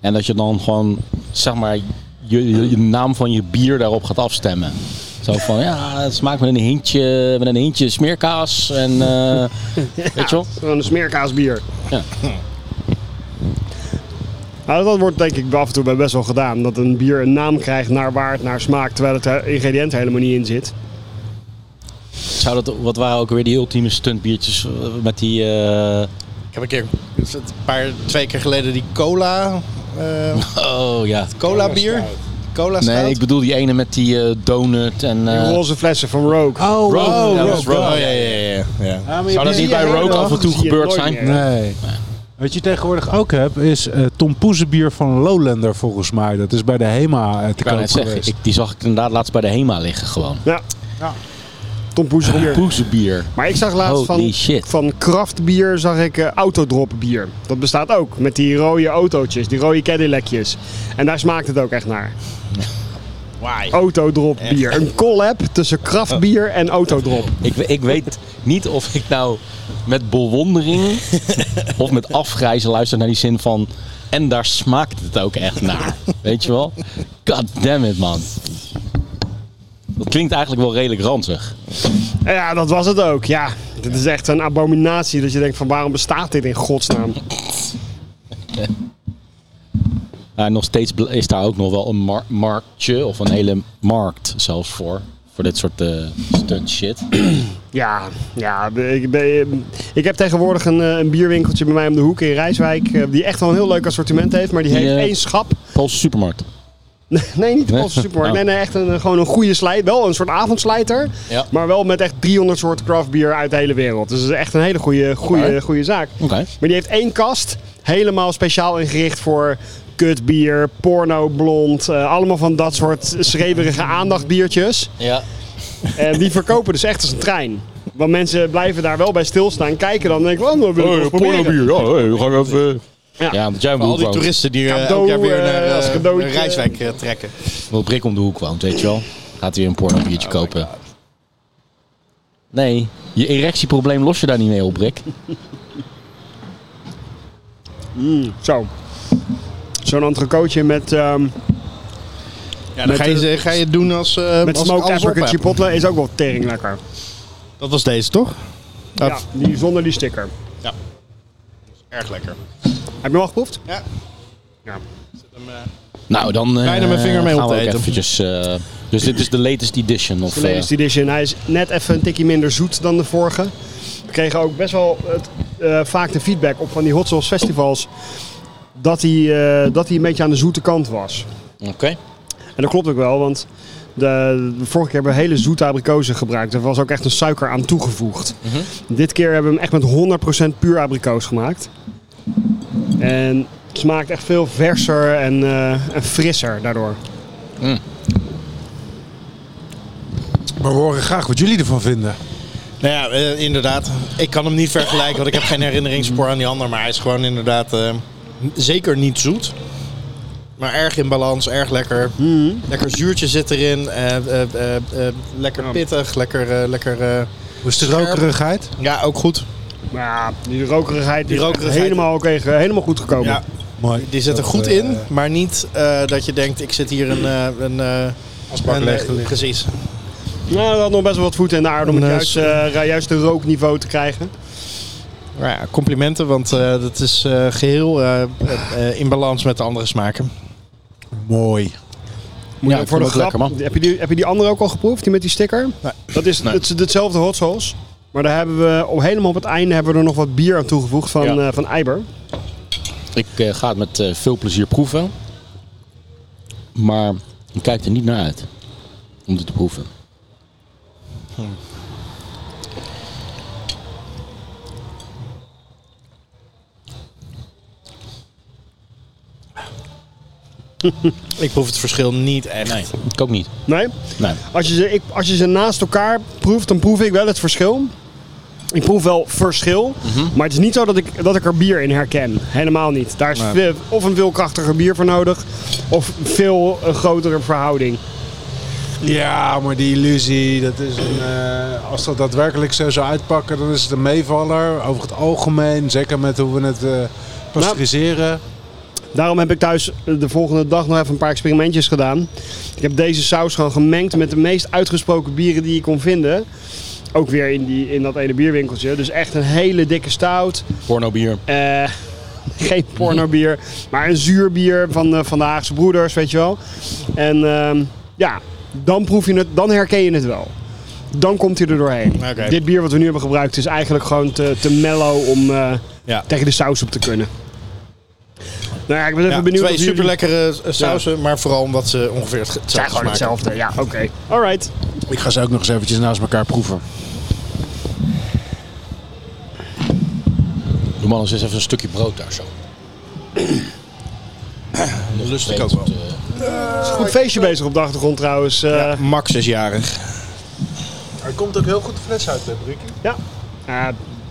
Speaker 1: En dat je dan gewoon, zeg maar, je, je, je naam van je bier daarop gaat afstemmen. Zo van, ja, het smaakt met een hintje, met een hintje smeerkaas en, eh, weet je wel?
Speaker 2: Gewoon een smeerkaasbier.
Speaker 1: Ja.
Speaker 2: Nou, dat wordt denk ik af en toe bij best wel gedaan. Dat een bier een naam krijgt naar waard, naar smaak, terwijl het eh, ingrediënt helemaal niet in zit.
Speaker 1: Zou dat, wat waren ook weer die ultieme stuntbiertjes eh, met die, eh,
Speaker 5: Ik heb een keer, is het een paar, twee keer geleden die cola, eh,
Speaker 1: oh ja.
Speaker 5: cola bier. Cola stout.
Speaker 1: Nee, ik bedoel die ene met die eh, donut en...
Speaker 2: Die
Speaker 1: eh,
Speaker 2: roze flessen van Rogue.
Speaker 5: Oh,
Speaker 1: Rogue.
Speaker 5: oh,
Speaker 1: Ja, dat
Speaker 5: Rogue.
Speaker 1: is Rogue.
Speaker 5: Oh, ja, ja, ja, ja.
Speaker 1: Zou dat niet bij Rogue af en toe
Speaker 2: Zie je
Speaker 1: gebeurd
Speaker 2: nooit
Speaker 1: zijn?
Speaker 2: meer.
Speaker 6: Nee. Wat je tegenwoordig ook hebt, is eh Tom Poezenbier van Lowlander volgens mij. Dat is bij de HEMA eh, te
Speaker 1: Ik kan
Speaker 6: koop
Speaker 1: het zeggen,
Speaker 6: geweest.
Speaker 1: ik, die zag ik inderdaad laatst bij de HEMA liggen gewoon.
Speaker 2: Ja.
Speaker 6: Ja.
Speaker 2: Tom Poes bier.
Speaker 1: Poezenbier.
Speaker 2: Maar ik zag laatst
Speaker 1: Holy
Speaker 2: van,
Speaker 1: shit.
Speaker 2: van kraftbier zag ik eh, autodrop bier. Dat bestaat ook. Met die rode autootjes, die rode Cadillacjes. En daar smaakt het ook echt naar.
Speaker 5: Why?
Speaker 2: Autodrop bier. Een collab tussen kraftbier en autodrop.
Speaker 1: Ik, we- ik weet niet of ik nou met bewondering of met afgrijzen luister naar die zin van. En daar smaakt het ook echt naar. Weet je wel? God damn it, man. Dat klinkt eigenlijk wel redelijk ranzig.
Speaker 2: Ja, dat was het ook. Ja, dit is echt een abominatie dat je denkt van waarom bestaat dit in godsnaam?
Speaker 1: Maar nog steeds bl- is daar ook nog wel een mar- marktje of een hele markt zelfs voor. Voor dit soort eh, stunt shit.
Speaker 2: Ja, ja ik, ben, ik heb tegenwoordig een, eh, een bierwinkeltje bij mij om de hoek in Rijswijk. eh, Die echt wel een heel leuk assortiment heeft, maar die
Speaker 1: Die,
Speaker 2: heeft
Speaker 1: eh,
Speaker 2: één schap.
Speaker 1: Poolse supermarkt.
Speaker 2: Nee, niet de
Speaker 1: Nee?
Speaker 2: Poolse supermarkt.
Speaker 1: Oh.
Speaker 2: Nee, nee, echt een, eh, gewoon een goede slijt. Wel een soort avondslijter.
Speaker 1: Ja.
Speaker 2: Maar wel met echt 300 soorten craft beer uit de hele wereld. Dus het is echt een hele goede, goede,
Speaker 1: Oké.
Speaker 2: goede zaak.
Speaker 1: Oké.
Speaker 2: Maar die heeft één kast. Helemaal speciaal ingericht voor kutbier, porno, blond. eh, allemaal van dat soort schreeuwerige aandachtbiertjes.
Speaker 1: Ja.
Speaker 2: En die verkopen dus echt als een trein. Want mensen blijven daar wel bij stilstaan, kijken dan en denken, oh, dat wil ik wel proberen.
Speaker 1: Ja, hey, we gaan even.
Speaker 2: Ja.
Speaker 1: Ja, want jij
Speaker 5: Al
Speaker 1: wil
Speaker 5: die toeristen die eh,
Speaker 2: Cadeau,
Speaker 5: elk jaar weer
Speaker 2: eh,
Speaker 5: naar, eh,
Speaker 2: als cadeautje.
Speaker 5: naar Rijswijk eh, trekken.
Speaker 1: Wat Brik om de hoek woont, weet je wel. Gaat hij een porno biertje kopen. Nee, je erectieprobleem los je daar niet mee op, Brik.
Speaker 2: Zo. Zo'n entrecootje met, ehm
Speaker 5: Ja, dan
Speaker 2: Met,
Speaker 5: ga je, ze- ga je het doen als, eh
Speaker 2: met
Speaker 5: als ik
Speaker 2: smoked
Speaker 5: alles op
Speaker 2: apricot
Speaker 5: heb.
Speaker 2: chipotle is ook wel tering lekker.
Speaker 5: Dat was deze, toch? Dat
Speaker 2: Ja, die, zonder die sticker.
Speaker 5: is erg lekker.
Speaker 2: Heb je hem al geproefd?
Speaker 5: Ja.
Speaker 2: Ja.
Speaker 1: Nou, dan eh,
Speaker 5: Bijna mijn vinger mee
Speaker 1: gaan
Speaker 5: op
Speaker 1: we
Speaker 5: te
Speaker 1: ook
Speaker 5: eten.
Speaker 1: eventjes, eh, dus dit is de latest edition. Of, eh,
Speaker 2: De latest edition. Hij is net even een tikje minder zoet dan de vorige. We kregen ook best wel het, eh, vaak de feedback op van die Hot Sauce festivals. Dat hij, eh, dat hij een beetje aan de zoete kant was.
Speaker 1: Oké.
Speaker 2: En dat klopt ook wel, want de, de vorige keer hebben we hele zoete abrikozen gebruikt. Er was ook echt een suiker aan toegevoegd. Dit keer hebben we hem echt met 100% puur abrikoos gemaakt. En het smaakt echt veel verser en, eh, en frisser daardoor.
Speaker 6: Maar we horen graag wat jullie ervan vinden.
Speaker 5: Nou ja, eh, inderdaad. Ik kan hem niet vergelijken, want ik heb geen herinneringspoor aan die ander. Maar hij is gewoon inderdaad eh, n- zeker niet zoet. Maar erg in balans, erg lekker. Lekker zuurtje zit erin. eh, eh, eh, eh, lekker pittig, lekker, eh, lekker eh,
Speaker 6: Hoe is de rokerigheid?
Speaker 5: Ja, ook goed.
Speaker 2: Maar ja, die rokerigheid
Speaker 5: Die
Speaker 2: is
Speaker 5: rokerigheid-
Speaker 2: helemaal, oké, ge- helemaal goed gekomen.
Speaker 5: Ja,
Speaker 6: Mooi.
Speaker 5: die zit er
Speaker 6: Dat,
Speaker 5: goed
Speaker 6: eh,
Speaker 5: in, maar niet eh, dat je denkt, ik zit hier een... eh, een eh,
Speaker 6: Als bak
Speaker 5: een,
Speaker 6: leeg
Speaker 5: eh,
Speaker 6: te liggen.
Speaker 5: Precies.
Speaker 2: Nou, dat had nog best wel wat voeten in de aarde om het
Speaker 5: Nee,
Speaker 2: juist, eh, juist de rookniveau te krijgen.
Speaker 5: Maar ja, complimenten, want eh, dat is eh, geheel eh, eh, eh, in balans met de andere smaken.
Speaker 6: Mooi.
Speaker 2: Moet je
Speaker 1: Ja,
Speaker 2: ook
Speaker 1: ik
Speaker 2: voor
Speaker 1: vond
Speaker 2: de
Speaker 1: het
Speaker 2: grap.
Speaker 1: lekker, man.
Speaker 2: Heb je, die, heb je die andere ook al geproefd, die met die sticker?
Speaker 5: Nee.
Speaker 2: Dat is
Speaker 1: Nee.
Speaker 2: het is hetzelfde hot sauce. Maar daar hebben we op, helemaal op het einde hebben we er nog wat bier aan toegevoegd van,
Speaker 1: Ja.
Speaker 2: eh, van Eiber.
Speaker 1: Ik eh, ga het met eh, veel plezier proeven. Maar ik kijk er niet naar uit om dit te proeven.
Speaker 5: Ik proef het verschil niet echt.
Speaker 1: Nee, ik ook niet.
Speaker 2: Nee?
Speaker 1: Nee.
Speaker 2: Als je, ze, ik, als je ze naast elkaar proeft, dan proef ik wel het verschil. Ik proef wel verschil, maar het is niet zo dat ik, dat ik er bier in herken. Helemaal niet. Daar is ve- of een veel krachtiger bier voor nodig, of veel een grotere verhouding.
Speaker 6: Ja, maar die illusie, dat is een, eh, als dat daadwerkelijk zo zou uitpakken, dan is het een meevaller. Over het algemeen, zeker met hoe we het eh pasteuriseren.
Speaker 2: Daarom heb ik thuis eh, de volgende dag nog even een paar experimentjes gedaan. Ik heb deze saus gewoon gemengd met de meest uitgesproken bieren die ik kon vinden. Ook weer in, die, in dat ene bierwinkeltje. Dus echt een hele dikke stout.
Speaker 1: Pornobier.
Speaker 2: Eh, geen pornobier, maar een zuurbier van, eh, van de Haagse Broeders, weet je wel. En ehm, ja, dan proef je het, dan herken je het wel. Dan komt hij er doorheen.
Speaker 5: Oké.
Speaker 2: Dit bier wat we nu hebben gebruikt is eigenlijk gewoon te, te mellow om eh,
Speaker 5: Ja.
Speaker 2: tegen de saus op te kunnen. Nou ja, ik ben even
Speaker 5: Ja,
Speaker 2: benieuwd
Speaker 5: twee
Speaker 2: of jullie-
Speaker 5: super lekkere sausen, maar vooral omdat ze ongeveer het- hetzelfde
Speaker 2: Het zijn gewoon
Speaker 5: smaken.
Speaker 2: hetzelfde, ja, oké. Alright.
Speaker 6: Ik ga ze ook nog eens eventjes naast elkaar proeven.
Speaker 1: Doe man eens even een stukje brood daar zo. Dat lust
Speaker 5: ik ook wel.
Speaker 2: Is een goed feestje bezig op de achtergrond trouwens. eh. ja.
Speaker 5: Max is jarig.
Speaker 6: Hij komt ook heel goed de fles uit, hè, Brikkie?
Speaker 2: Ah,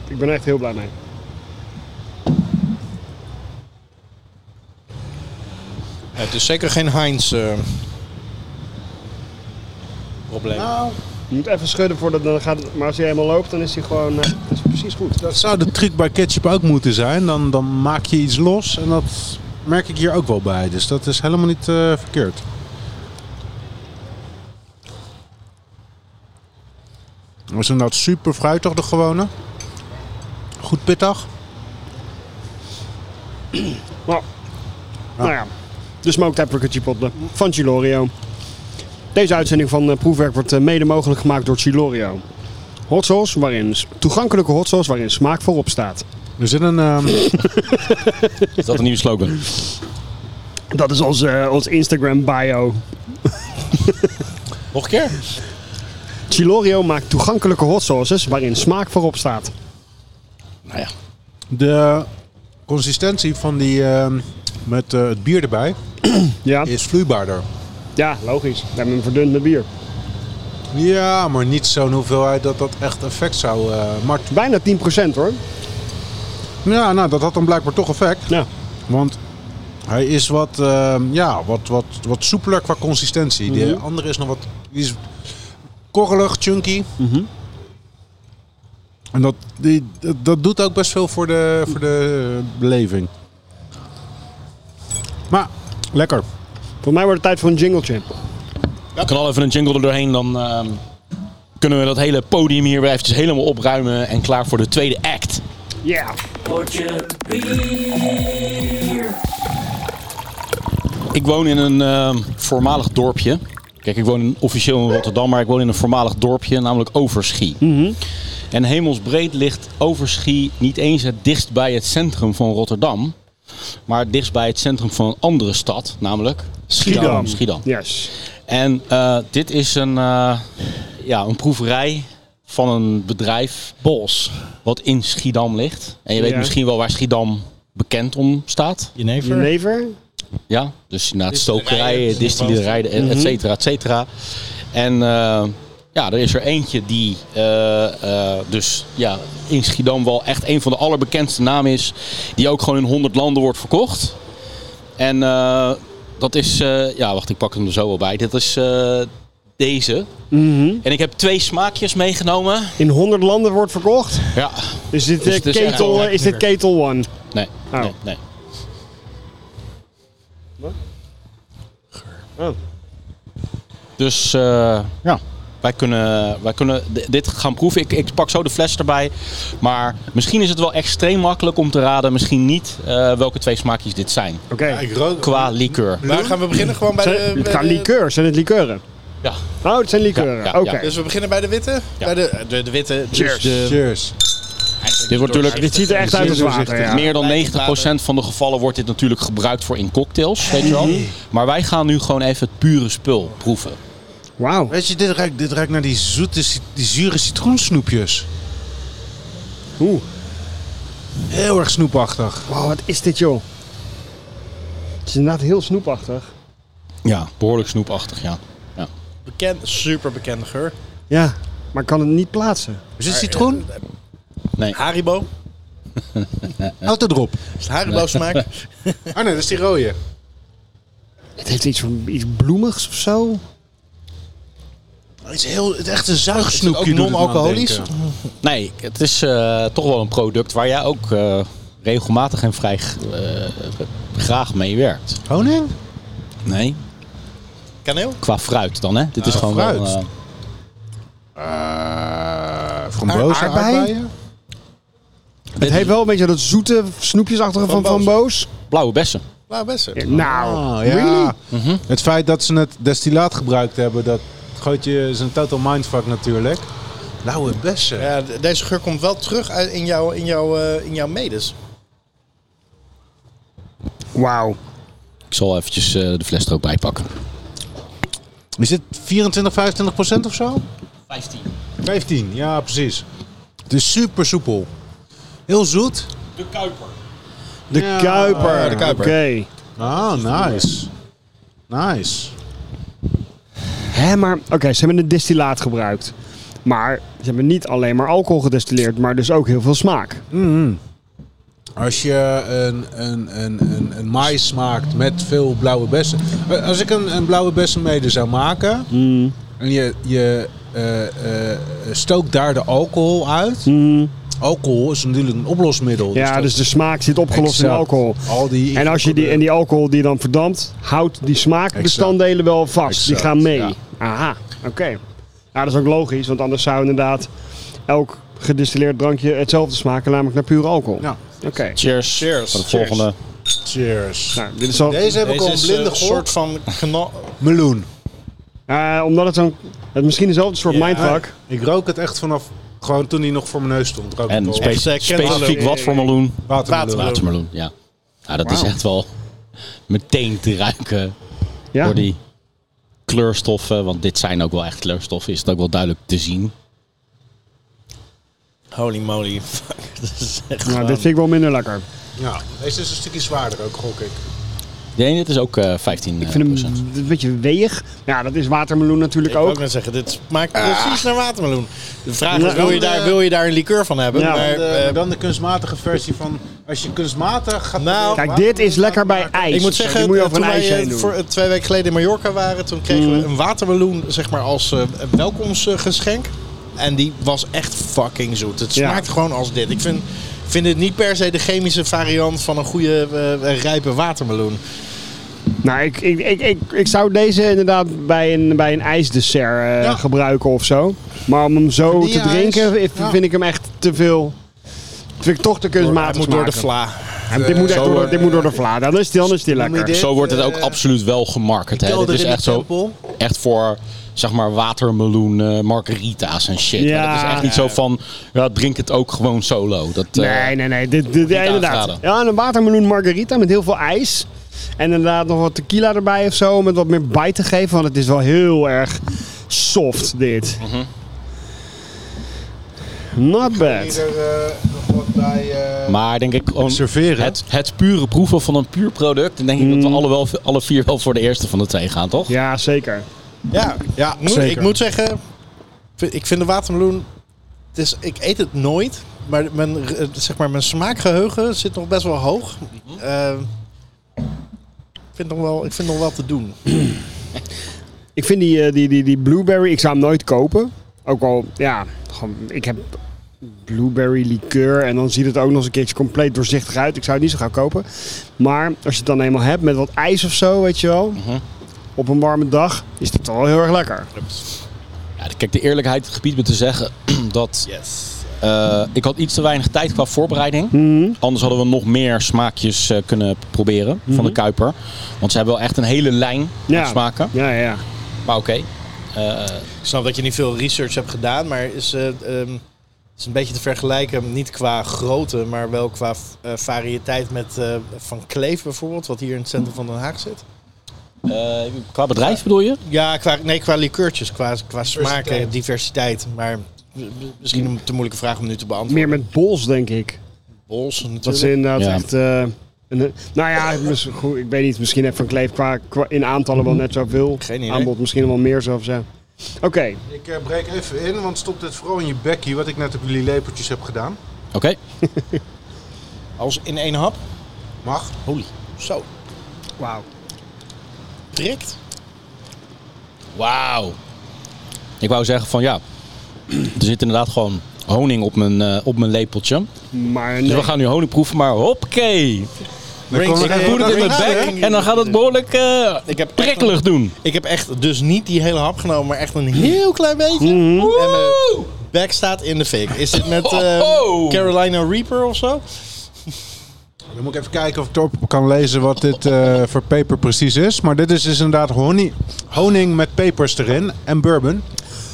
Speaker 2: ik ben er echt heel blij mee.
Speaker 5: Het is zeker geen Heinz eh, probleem.
Speaker 6: Nou,
Speaker 2: Je moet even schudden voordat dan gaat het- Maar als hij helemaal loopt, dan is hij gewoon. eh, dat is precies goed.
Speaker 6: dat zou de truc bij ketchup ook moeten zijn. Dan, dan maak je iets los en dat merk ik hier ook wel bij. Dus dat is helemaal niet eh, verkeerd. Was inderdaad super fruitig, de gewone. Goed pittig.
Speaker 2: Nou, nou ja. De Smoked Apricot Chipotle van Chilorio. Deze uitzending van eh, Proefwerk wordt eh, mede mogelijk gemaakt door Chilorio. Hot sauce, waarin, toegankelijke hot sauce waarin smaak voorop staat.
Speaker 6: Er zit een... ehm,
Speaker 1: Is dat een nieuwe slogan?
Speaker 2: Dat is onze eh, ons Instagram bio.
Speaker 1: Nog een keer?
Speaker 2: Chilorio maakt toegankelijke hot sauces waarin smaak voorop staat.
Speaker 1: Nou ja.
Speaker 6: De consistentie van die ehm, met eh, het bier erbij
Speaker 2: Ja,
Speaker 6: is vloeibaarder.
Speaker 2: ja logisch. We hebben hem verdund met bier.
Speaker 6: Ja, maar niet zo'n hoeveelheid dat dat echt effect zou. eh maar
Speaker 2: Bijna 10% hoor.
Speaker 6: ja, nou, dat had dan blijkbaar toch effect.
Speaker 2: Ja.
Speaker 6: Want hij is wat, ehm, ja, wat, wat, wat soepeler qua consistentie. De andere is nog wat. Die is korrelig, chunky. En dat, die, dat, dat doet ook best veel voor de, voor de eh, beleving. Maar lekker.
Speaker 2: Voor mij wordt het tijd voor een jingletje.
Speaker 1: Ik kan al even een jingle er doorheen, dan ehm, kunnen we dat hele podium hier weer eventjes helemaal opruimen en klaar voor de tweede act.
Speaker 2: Ja.
Speaker 1: Ik woon in een ehm, voormalig dorpje. Kijk, ik woon in- officieel in Rotterdam, maar ik woon in een voormalig dorpje, namelijk Overschie. En hemelsbreed ligt Overschie niet eens het dichtst bij het centrum van Rotterdam, maar het dichtst bij het centrum van een andere stad, namelijk Schiedam. Schiedam.
Speaker 2: Yes.
Speaker 1: En eh, dit is een, eh, ja, een proeverij van een bedrijf, Bols, wat in Schiedam ligt. En je weet
Speaker 2: Ja.
Speaker 1: misschien wel waar Schiedam bekend om staat.
Speaker 5: Jenever?
Speaker 2: Jenever.
Speaker 1: Ja, dus na het stokerijen, distillerijen, et et cetera, et cetera. En eh, ja, er is er eentje die eh, eh, dus ja, in Schiedam wel echt een van de allerbekendste namen is. Die ook gewoon in 100 landen wordt verkocht. En eh, dat is, eh, ja wacht, ik pak hem er zo wel bij. Dit is eh, deze. En ik heb twee smaakjes meegenomen.
Speaker 2: In 100 landen wordt verkocht.
Speaker 1: Ja.
Speaker 2: Dus dit,
Speaker 1: Dus
Speaker 2: eh,
Speaker 1: het is echt
Speaker 2: ketel,
Speaker 1: wel
Speaker 2: eh, is dit ketel one?
Speaker 1: Nee.
Speaker 2: Oh.
Speaker 1: Nee. nee.
Speaker 2: Oh.
Speaker 1: Dus eh, ja, wij kunnen, wij kunnen d- dit gaan proeven. Ik, ik pak zo de fles erbij. Maar misschien is het wel extreem makkelijk om te raden. Misschien niet eh, welke twee smaakjes dit zijn.
Speaker 2: Oké.
Speaker 5: Ik rook.
Speaker 1: Qua liqueur.
Speaker 5: Maar gaan we beginnen gewoon bij
Speaker 2: Zijn-
Speaker 5: de...
Speaker 2: het
Speaker 5: bij
Speaker 2: kan
Speaker 5: de-
Speaker 2: liqueurs, zijn het liqueuren?
Speaker 1: Ja.
Speaker 2: Eh, Oh, het zijn liqueuren.
Speaker 1: Ja, ja, ja.
Speaker 2: Oké.
Speaker 5: Dus we beginnen bij de witte?
Speaker 1: Ja.
Speaker 5: Bij de, de, de witte. dus
Speaker 2: Cheers.
Speaker 5: de-
Speaker 6: Cheers.
Speaker 1: Dit wordt natuurlijk...
Speaker 2: Dit ziet er echt uit als water. Ja.
Speaker 1: Meer dan 90% van de gevallen wordt dit natuurlijk gebruikt voor in cocktails, weet je wel. Maar wij gaan nu gewoon even het pure spul proeven.
Speaker 2: Wauw.
Speaker 5: Weet je, dit ruikt, dit ruikt naar die zoete, ci- die zure citroensnoepjes.
Speaker 2: Oeh.
Speaker 5: Heel erg snoepachtig.
Speaker 2: Wow, wat is dit joh? Het is inderdaad heel snoepachtig.
Speaker 1: Ja, behoorlijk snoepachtig, ja.
Speaker 5: Bekend, super bekende geur.
Speaker 2: Ja, maar ik kan het niet plaatsen.
Speaker 5: Is dit citroen?
Speaker 1: Nee.
Speaker 5: Haribo.
Speaker 6: Houd het erop.
Speaker 5: Is het Haribo smaak? Oh
Speaker 6: Ah nee, dat is die rode.
Speaker 2: Het heeft iets van iets bloemigs of zo.
Speaker 5: Het is heel, het is echt een zuigsnoepje.
Speaker 6: Is het ook
Speaker 5: non-alcoholisch.
Speaker 6: non-alcoholisch?
Speaker 1: Nee, het is eh, toch wel een product waar jij ook eh, regelmatig en vrij g- eh, graag mee werkt.
Speaker 6: Honing?
Speaker 1: Nee.
Speaker 5: Kaneel?
Speaker 1: Qua fruit dan, hè? Dit is gewoon
Speaker 6: fruit.
Speaker 1: wel... eh,
Speaker 6: Frambozen,
Speaker 2: Aardbei?
Speaker 6: aardbeien?
Speaker 2: Het heeft wel een beetje dat zoete snoepjesachtige van
Speaker 5: Frambozen.
Speaker 2: Framboos.
Speaker 1: blauwe bessen.
Speaker 5: Nou, best.
Speaker 2: Ja, nou,
Speaker 6: Ah, ja.
Speaker 2: really?
Speaker 6: Het feit dat ze het destillaat gebruikt hebben, dat gooit je zijn total mindfuck natuurlijk. Lauwe bessen.
Speaker 5: Ja, de- deze geur komt wel terug uit in, jouw, in, jouw, eh, in jouw medes.
Speaker 2: Wauw.
Speaker 1: Ik zal eventjes eh, de fles er ook bij pakken.
Speaker 6: Is dit 24, 25 procent of zo?
Speaker 1: 15.
Speaker 6: 15, ja precies. Het is super soepel. Heel zoet.
Speaker 1: De Kuiper.
Speaker 2: De
Speaker 6: Ja,
Speaker 2: Kuiper.
Speaker 6: de Kuiper.
Speaker 2: Oké.
Speaker 6: Ah, nice. Nice.
Speaker 2: Hé, maar... Oké, ze hebben een destillaat gebruikt. Maar ze hebben niet alleen maar alcohol gedestilleerd, maar dus ook heel veel smaak.
Speaker 6: Als je een, een, een, een, een mais maakt met veel blauwe bessen. Eh, Als ik een, een blauwe bessen mede zou maken.
Speaker 2: Mm.
Speaker 6: En je, je eh, eh, stookt daar de alcohol uit. Alcohol is natuurlijk een oplosmiddel.
Speaker 2: Mm. Ja,
Speaker 6: dat-
Speaker 2: dus de smaak zit opgelost in
Speaker 6: Exact.
Speaker 2: alcohol.
Speaker 6: Al die
Speaker 2: En als je die, en die alcohol die dan verdampt, houdt die smaakbestanddelen wel vast. Die
Speaker 6: Exact,
Speaker 2: gaan mee.
Speaker 1: ja.
Speaker 2: Aha, oké. Ja, dat is ook logisch, want anders zou inderdaad elk gedistilleerd drankje hetzelfde smaken, namelijk naar pure alcohol.
Speaker 6: Ja.
Speaker 2: Oké.
Speaker 1: Cheers.
Speaker 5: Cheers.
Speaker 1: Voor de volgende.
Speaker 6: Cheers.
Speaker 2: Nou, dit is al,
Speaker 6: Deze heb ik al een
Speaker 5: is eh,
Speaker 6: blinde
Speaker 5: een soort
Speaker 6: gehoord.
Speaker 5: van knal...
Speaker 6: Meloen.
Speaker 2: eh, omdat het zo'n, het misschien dezelfde soort mindfuck.
Speaker 6: Ik rook het echt vanaf gewoon toen hij nog voor mijn neus stond. Rook ik
Speaker 1: En
Speaker 6: al.
Speaker 1: spe-
Speaker 5: Echt, eh,
Speaker 1: specifiek
Speaker 5: krentenmeloen.
Speaker 1: wat voor meloen?
Speaker 6: watermeloen.
Speaker 1: Watermeloen, ja. Nou, dat is echt wel meteen te ruiken
Speaker 2: Ja.
Speaker 1: door die kleurstoffen. Want dit zijn ook wel echt kleurstoffen. Is het ook wel duidelijk te zien.
Speaker 5: Holy moly. Fuck. Dat is echt
Speaker 2: Nou,
Speaker 5: gewoon-
Speaker 2: dit vind ik wel minder lekker. Ik
Speaker 6: Ja, deze is een stukje zwaarder ook, gok ik.
Speaker 1: Nee, dit is ook eh 15
Speaker 2: vind hem
Speaker 1: procent.
Speaker 2: een beetje weeg. Ja, dat is watermeloen natuurlijk
Speaker 5: Ik wou ook
Speaker 2: ook.
Speaker 5: net zeggen, dit smaakt precies naar watermeloen. De vraag
Speaker 2: Nou,
Speaker 5: is, wil je,
Speaker 6: dan,
Speaker 5: daar,
Speaker 6: eh,
Speaker 5: wil je daar een liqueur van hebben?
Speaker 2: Ja.
Speaker 5: maar,
Speaker 6: En, eh,
Speaker 5: eh,
Speaker 6: maar dan de kunstmatige versie van als je kunstmatig gaat.
Speaker 5: Nou,
Speaker 2: Kijk, dit is lekker bij
Speaker 6: ijs.
Speaker 2: ijs.
Speaker 5: ik moet
Speaker 2: Zo, die
Speaker 5: zeggen,
Speaker 2: moet je
Speaker 5: eh,
Speaker 2: over
Speaker 5: toen
Speaker 2: een
Speaker 5: wij
Speaker 2: ijs
Speaker 5: eh,
Speaker 2: heen doen. Mm.
Speaker 5: voor, eh, twee weken geleden in Mallorca waren, toen kregen we een watermeloen zeg maar, als eh, welkomstgeschenk. En die was echt fucking zoet. Het
Speaker 2: Ja.
Speaker 5: smaakt gewoon als dit. Ik vind, vind het niet per se de chemische variant van een goede eh, rijpe watermeloen.
Speaker 2: Nou, ik, ik, ik, ik, ik zou deze inderdaad bij een, bij een ijsdessert eh,
Speaker 6: Ja.
Speaker 2: gebruiken of zo. Maar om hem zo te
Speaker 6: Vanille-ijs.
Speaker 2: drinken v-
Speaker 6: Ja.
Speaker 2: vind ik hem echt te veel. Vind ik toch te
Speaker 5: Hij
Speaker 2: kunstmatig
Speaker 5: moet door de
Speaker 2: smaken.
Speaker 5: vla.
Speaker 2: Ja, dit, moet echt
Speaker 6: Zo,
Speaker 2: door, de-
Speaker 6: eh,
Speaker 2: dit moet door de vla. Dan is die, dan is die lekker.
Speaker 6: dit?
Speaker 1: Zo wordt het ook
Speaker 6: eh,
Speaker 1: absoluut wel gemarket. Hè. Dit
Speaker 5: Kelder
Speaker 1: is
Speaker 5: in de
Speaker 1: echt zo
Speaker 5: tempel.
Speaker 1: echt voor zeg maar watermeloen, eh, margarita's en shit.
Speaker 2: Ja.
Speaker 1: Maar Dat is echt niet zo van ja, drink het ook gewoon solo. Dat, eh,
Speaker 2: Nee, nee, nee. Dit, dit, ja, inderdaad.
Speaker 1: aanraden.
Speaker 2: Ja, en een watermeloen margarita met heel veel ijs. En inderdaad nog wat tequila erbij of zo. Om het wat meer bij te geven. Want het is wel heel erg soft, dit.
Speaker 5: Mhm.
Speaker 2: Not bad.
Speaker 1: Maar denk ik gewoon
Speaker 6: Serveren.
Speaker 1: Het, het pure proeven van een puur product. Dan denk ik dat we alle, wel, alle vier wel voor de eerste van de twee gaan, toch?
Speaker 2: Ja, zeker.
Speaker 5: Ja, ja moet-
Speaker 6: zeker.
Speaker 5: ik moet zeggen, v- ik vind de watermeloen, het is, ik eet het nooit, maar mijn, eh, zeg maar, mijn smaakgeheugen zit nog best wel hoog. Eh, ik, vind nog wel, ik vind nog wel te doen.
Speaker 2: Ik vind die, eh, die, die, die blueberry, ik zou hem nooit kopen. Ook al, ja, gewoon, ik heb blueberry liqueur en dan ziet het er ook nog eens een keertje compleet doorzichtig uit. Ik zou het niet zo gaan kopen. Maar als je het dan eenmaal hebt met wat ijs of zo, weet je wel,
Speaker 5: Mhm.
Speaker 2: op een warme dag, is dit toch wel heel erg lekker.
Speaker 1: Ja, kijk, de eerlijkheid gebied me te zeggen dat eh, ik had iets te weinig tijd qua voorbereiding. Anders hadden we nog meer smaakjes eh, kunnen proberen van de Kuiper. Want ze hebben wel echt een hele lijn
Speaker 2: Ja.
Speaker 1: aan smaken.
Speaker 2: Ja, ja, ja.
Speaker 1: Maar oké.
Speaker 5: Ik snap dat je niet veel research hebt gedaan, maar is, eh, ehm, is een beetje te vergelijken, niet qua grootte, maar wel qua eh, variëteit met eh, Van Kleef bijvoorbeeld, wat hier in het centrum van Den Haag zit.
Speaker 1: Eh, qua bedrijf bedoel je?
Speaker 5: Ja, qua, nee, qua liqueurtjes, qua, qua smaken, diversiteit, maar m- m- misschien een te moeilijke vraag om nu te beantwoorden.
Speaker 2: Meer met bols, denk ik.
Speaker 5: bols natuurlijk.
Speaker 2: Dat ze inderdaad
Speaker 1: Ja.
Speaker 2: echt... eh, een- nou ja, mis- goed, ik weet niet. Misschien heeft Van Kleef qua, qua in aantallen wel net zoveel.
Speaker 5: Mhm. Geen idee.
Speaker 2: Aanbod misschien wel meer zelfs, ja. Oké,
Speaker 6: Ik eh, breek even in, want stop dit vooral in je bekje, wat ik net op jullie lepeltjes heb gedaan.
Speaker 1: Oké.
Speaker 5: Als in één hap,
Speaker 6: Mag.
Speaker 5: holy, zo,
Speaker 2: wauw.
Speaker 5: prikt.
Speaker 1: Wauw. Ik wou zeggen van ja, er zit inderdaad gewoon honing op mijn, eh, op mijn lepeltje.
Speaker 2: Maar
Speaker 1: Dus
Speaker 2: nee.
Speaker 1: we gaan nu honing proeven, maar hoppakee.
Speaker 5: Rings,
Speaker 1: Ik doe het in mijn bek en dan gaat het behoorlijk eh,
Speaker 5: Ik heb echt
Speaker 1: prikkelig doen.
Speaker 5: Ik heb echt dus niet die hele hap genomen, maar echt een heel klein
Speaker 2: Mhm.
Speaker 5: beetje. En mijn bek staat in de fik. Is dit met eh,
Speaker 1: Oh.
Speaker 5: Carolina Reaper of zo?
Speaker 6: Dan moet ik even kijken of ik erop kan lezen wat dit eh, voor peper precies is. Maar dit is dus inderdaad honing, honing met pepers erin en bourbon.